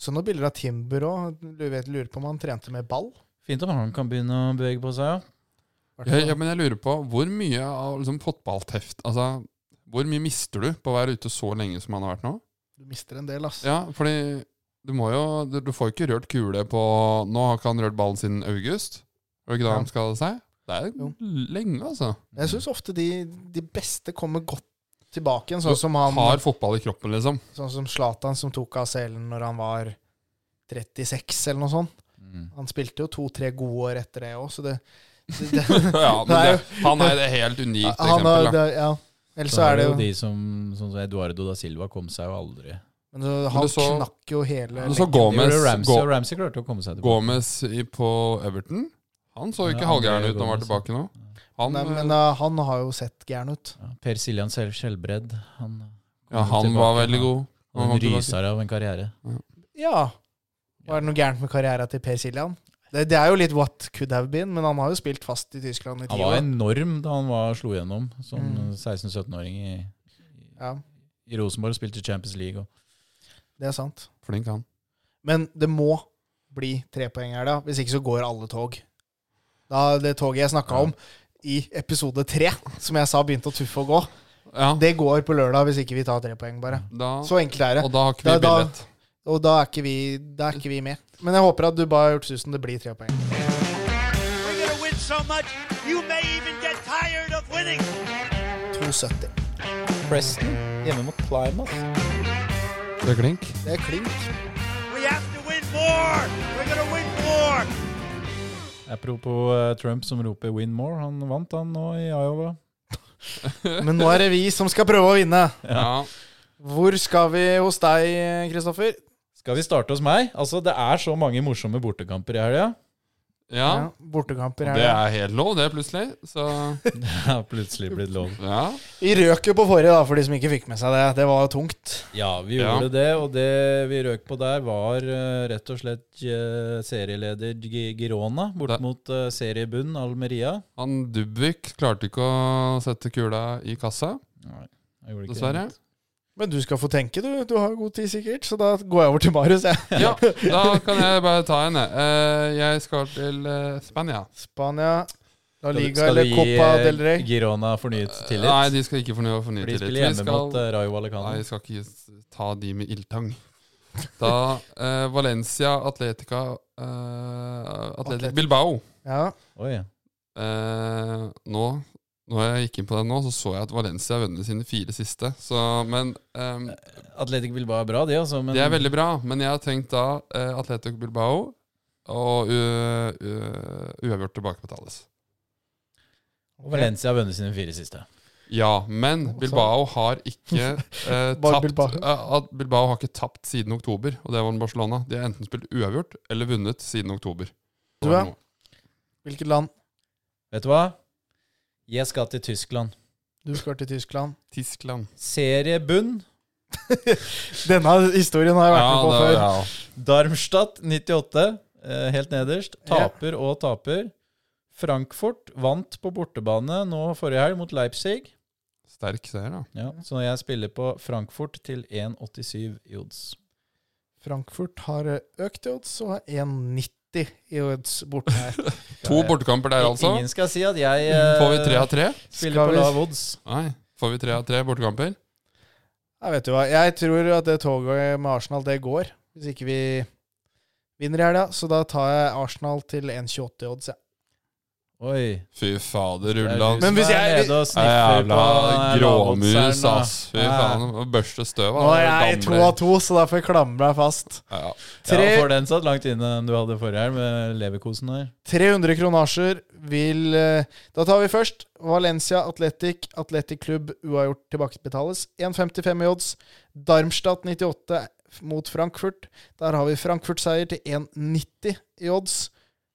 Så noen bilder av Timber òg. Lurer på om han trente med ball.
Fint om han kan begynne å bevege på seg, ja.
Jeg, ja, men jeg lurer på hvor mye av liksom, fotballteft Altså, hvor mye mister du på å være ute så lenge som han har vært nå?
Du mister en del, ass.
Ja, fordi du må jo Du, du får jo ikke rørt kule på Nå har ikke han rørt ballen siden august. Er det ikke da
Ja.
han skadet seg? Det er
Jo.
lenge, altså.
Jeg syns ofte de, de beste kommer godt tilbake igjen, sånn
Du
som han
Har fotball i kroppen, liksom.
Sånn som Zlatan, som tok ACL-en når han var 36, eller noe sånt.
Mm.
Han spilte jo to-tre gode år etter det òg, så det, det, det
Ja, men
Nei.
det, han er et helt unikt
Han har
eksempel. Da.
det, Ja. Ellers
Så
så er det jo
de som Sånn som Eduardo da Silva kom seg jo aldri.
Men så, han
du så-
knakk jo hele
Du
leggen.
så
Det
Gomez,
gjorde Ramsey,
Go-
og Ramsey klarte å komme seg tilbake.
Gomez i- på Everton. Han så
Ja,
ikke
han
halvgæren
gjør
ut når han var
Gomez,
tilbake nå. Han,
Nei, men
eh,
eh, han har jo sett gæren ut.
Ja, per Siljan selv Skjelbred. Han, kom
ja, han
tilbake,
var veldig god.
Han,
kom
han
tilbake.
ryser av en karriere.
Ja. Var det noe gærent med karriera til Per Siljan? Det, det er jo litt what could have been, men han har jo spilt fast i Tyskland i
Han
ti
var
år.
enorm da han var, slo gjennom som
Mm.
16-17-åring i,
Ja,
i Rosenborg og spilte Champions League. Og.
det er sant.
Flink, han.
Men det må bli tre poeng her, da. Hvis ikke så går alle tog. Da Det toget jeg snakka om i episode tre, som jeg sa begynte å tuffe og gå,
Ja,
det går på lørdag hvis ikke vi tar tre poeng, bare.
da,
Så enkelt er det.
og da har ikke
Da-
vi
da-
billett.
Og da er ikke vi, da er ikke vi med. Men jeg håper at du bare har gjort susen. Det blir tre poeng.
We're going to win so much, you may even get tired of winning.
2,70.
Preston hjemme mot Plymouth.
Det er klink.
Det er klink.
We have to win more. We're going to win more.
Apropos eh, Trump som roper 'win more'. Han vant, han nå i Iowa.
Men nå er det vi som skal prøve å vinne.
Ja.
Hvor skal vi hos deg, Kristoffer?
Skal vi starte hos meg? Altså, Det er så mange morsomme bortekamper i helga.
Ja,
Ja, bortekamper
det
her.
er helt lov, det, plutselig. Så
Det har plutselig blitt lov.
ja.
Vi røk jo på forrige, da, for de som ikke fikk med seg det. Det var jo tungt.
Ja, vi
Ja.
gjorde det, og det vi røk på der, var eh, rett og slett eh, serieleder Gi- Girona bort
Det-
mot eh, seriebunn Almeria.
Han Dubvik klarte ikke å sette kula i kassa,
Nei, jeg gjorde ikke
dessverre.
det.
Men du skal få tenke, du. Du har god tid, sikkert. Så da går jeg over til Marius, jeg.
Ja, da kan jeg bare ta en, jeg. Eh, Jeg skal til eh, Spania.
Spania, La
Skal du-
Liga
skal du
eller
gi,
Copa
eh,
del Rey.
Girona fornyet tillit?
Eh, Nei, de skal ikke fornye fornye
For de
tillit.
spiller
Vi
hjemme
skal-
mot eh, Rayo Vallecano.
Nei, jeg skal ikke s- ta de med ildtang. Da eh, Valencia, Atletica eh, Atletic
Atletic.
Bilbao.
Ja.
Oi.
Eh, nå når jeg gikk inn på den nå, så så jeg at Valencia har vunnet sine fire siste. Så, men ehm,
Atletic Bilbao er bra, de, altså. Men
Det er veldig bra, men jeg har tenkt da eh, Atletico Bilbao og u- u- uavgjort tilbakebetales.
Valencia har vunnet sine fire siste.
Ja, men Bilbao har ikke eh,
Bare
tapt
Bilbao.
eh, at Bilbao har ikke tapt siden oktober, og det var med Barcelona. De har enten spilt uavgjort eller vunnet siden oktober.
Du, ja. Hvilket land?
Vet du hva? Jeg skal til Tyskland.
Du skal til Tyskland.
Tyskland.
Seriebunn.
Denne historien har jeg vært med på
det-
før.
ja.
Darmstadt 98, eh, helt nederst. Taper og taper. Frankfurt vant på bortebane nå forrige helg mot Leipzig.
Sterk seier, da.
Ja, så jeg spiller på Frankfurt til 1,87 i odds.
Frankfurt har eh, økt i odds og har 1,90 i odds borte her.
To bortekamper der, altså.
Ingen skal si at jeg eh,
Får vi tre av tre?
spiller
Skal
på
vi-
lav odds.
Nei. Får vi tre av tre bortekamper?
Jeg vet du hva, jeg tror at det toget med Arsenal, det går. Hvis ikke vi vinner i helga. Så da tar jeg Arsenal til 1,28 i odds, jeg.
Oi.
Fy fader,
det er
Rulland.
du
Men
som
hvis
er
jeg-
nede og sniffer
Jævla
på
eh,
gråmus,
lavoddseren, da.
ass. Fy
Ja.
faen. å Børste støv
Nå
av
er jeg to av to, så da får jeg klamre meg fast.
Ja.
Ja,
Tre,
for den satt langt inne enn du hadde forrige helg med leverkosen der.
300 kronasjer vil eh, Da tar vi først Valencia Atletic, Atletic Klubb uavgjort tilbakebetales. 1,55 i odds. Darmstadt 98 mot Frankfurt. Der har vi Frankfurt-seier til 1,90 i odds.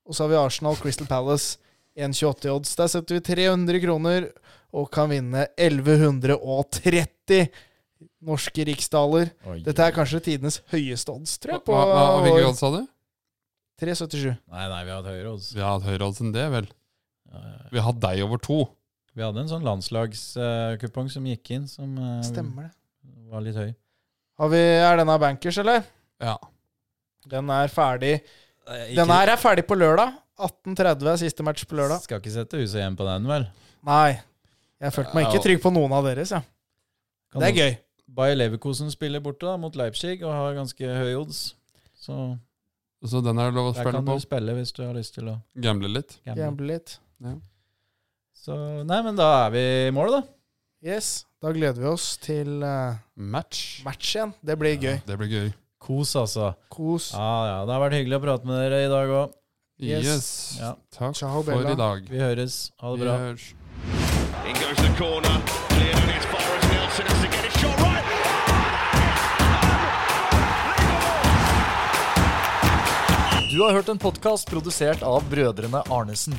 Og så har vi Arsenal Crystal Palace 1,28 i odds. Der setter vi 300 kroner og kan vinne 1130 norske riksdaler.
Oi.
Dette er kanskje tidenes høyeste odds, tror
Hva,
jeg. På
hva, hva- hvilke
år.
odds sa du?
3,77.
Nei, nei, vi har hatt høyere odds.
Vi har hatt høyere odds enn det, vel.
Ja, ja.
Vi har hatt deg over to.
Vi hadde en sånn landslagskupong som gikk inn, som eh,
Stemmer det.
var litt høy.
Har vi, er denne bankers, eller?
Ja.
Den er ferdig Den her er ferdig på lørdag. 18.30 er siste match på lørdag.
Skal ikke sette huset hjem på den, vel?
Nei. Jeg følte meg ikke trygg på noen av deres, jeg.
Kan
Det er gøy.
Bayer Leverkusen spiller borte da, mot Leipzig og har ganske høy odds. Så
Så den er det lov å
der
spille
kan du
på.
spille hvis du har lyst til å
Gamble litt.
gamble.
Gamble litt.
Så nei, men da er vi i mål, da.
Yes. Da gleder vi oss til eh,
Match.
match igjen. Det blir gøy.
Det blir gøy.
Kos, altså.
Kos.
Ja, ja. Det har vært hyggelig å prate med dere i dag òg.
Yes.
Yes.
Ja.
Takk
Ciao,
for
Bella.
i dag.
Vi høres. Ha det bra.
Vi høres.
In goes the corner. Cleared and it's Forrest Nelson has to get it shot right.
Du har hørt en podkast produsert av brødrene Arnesen.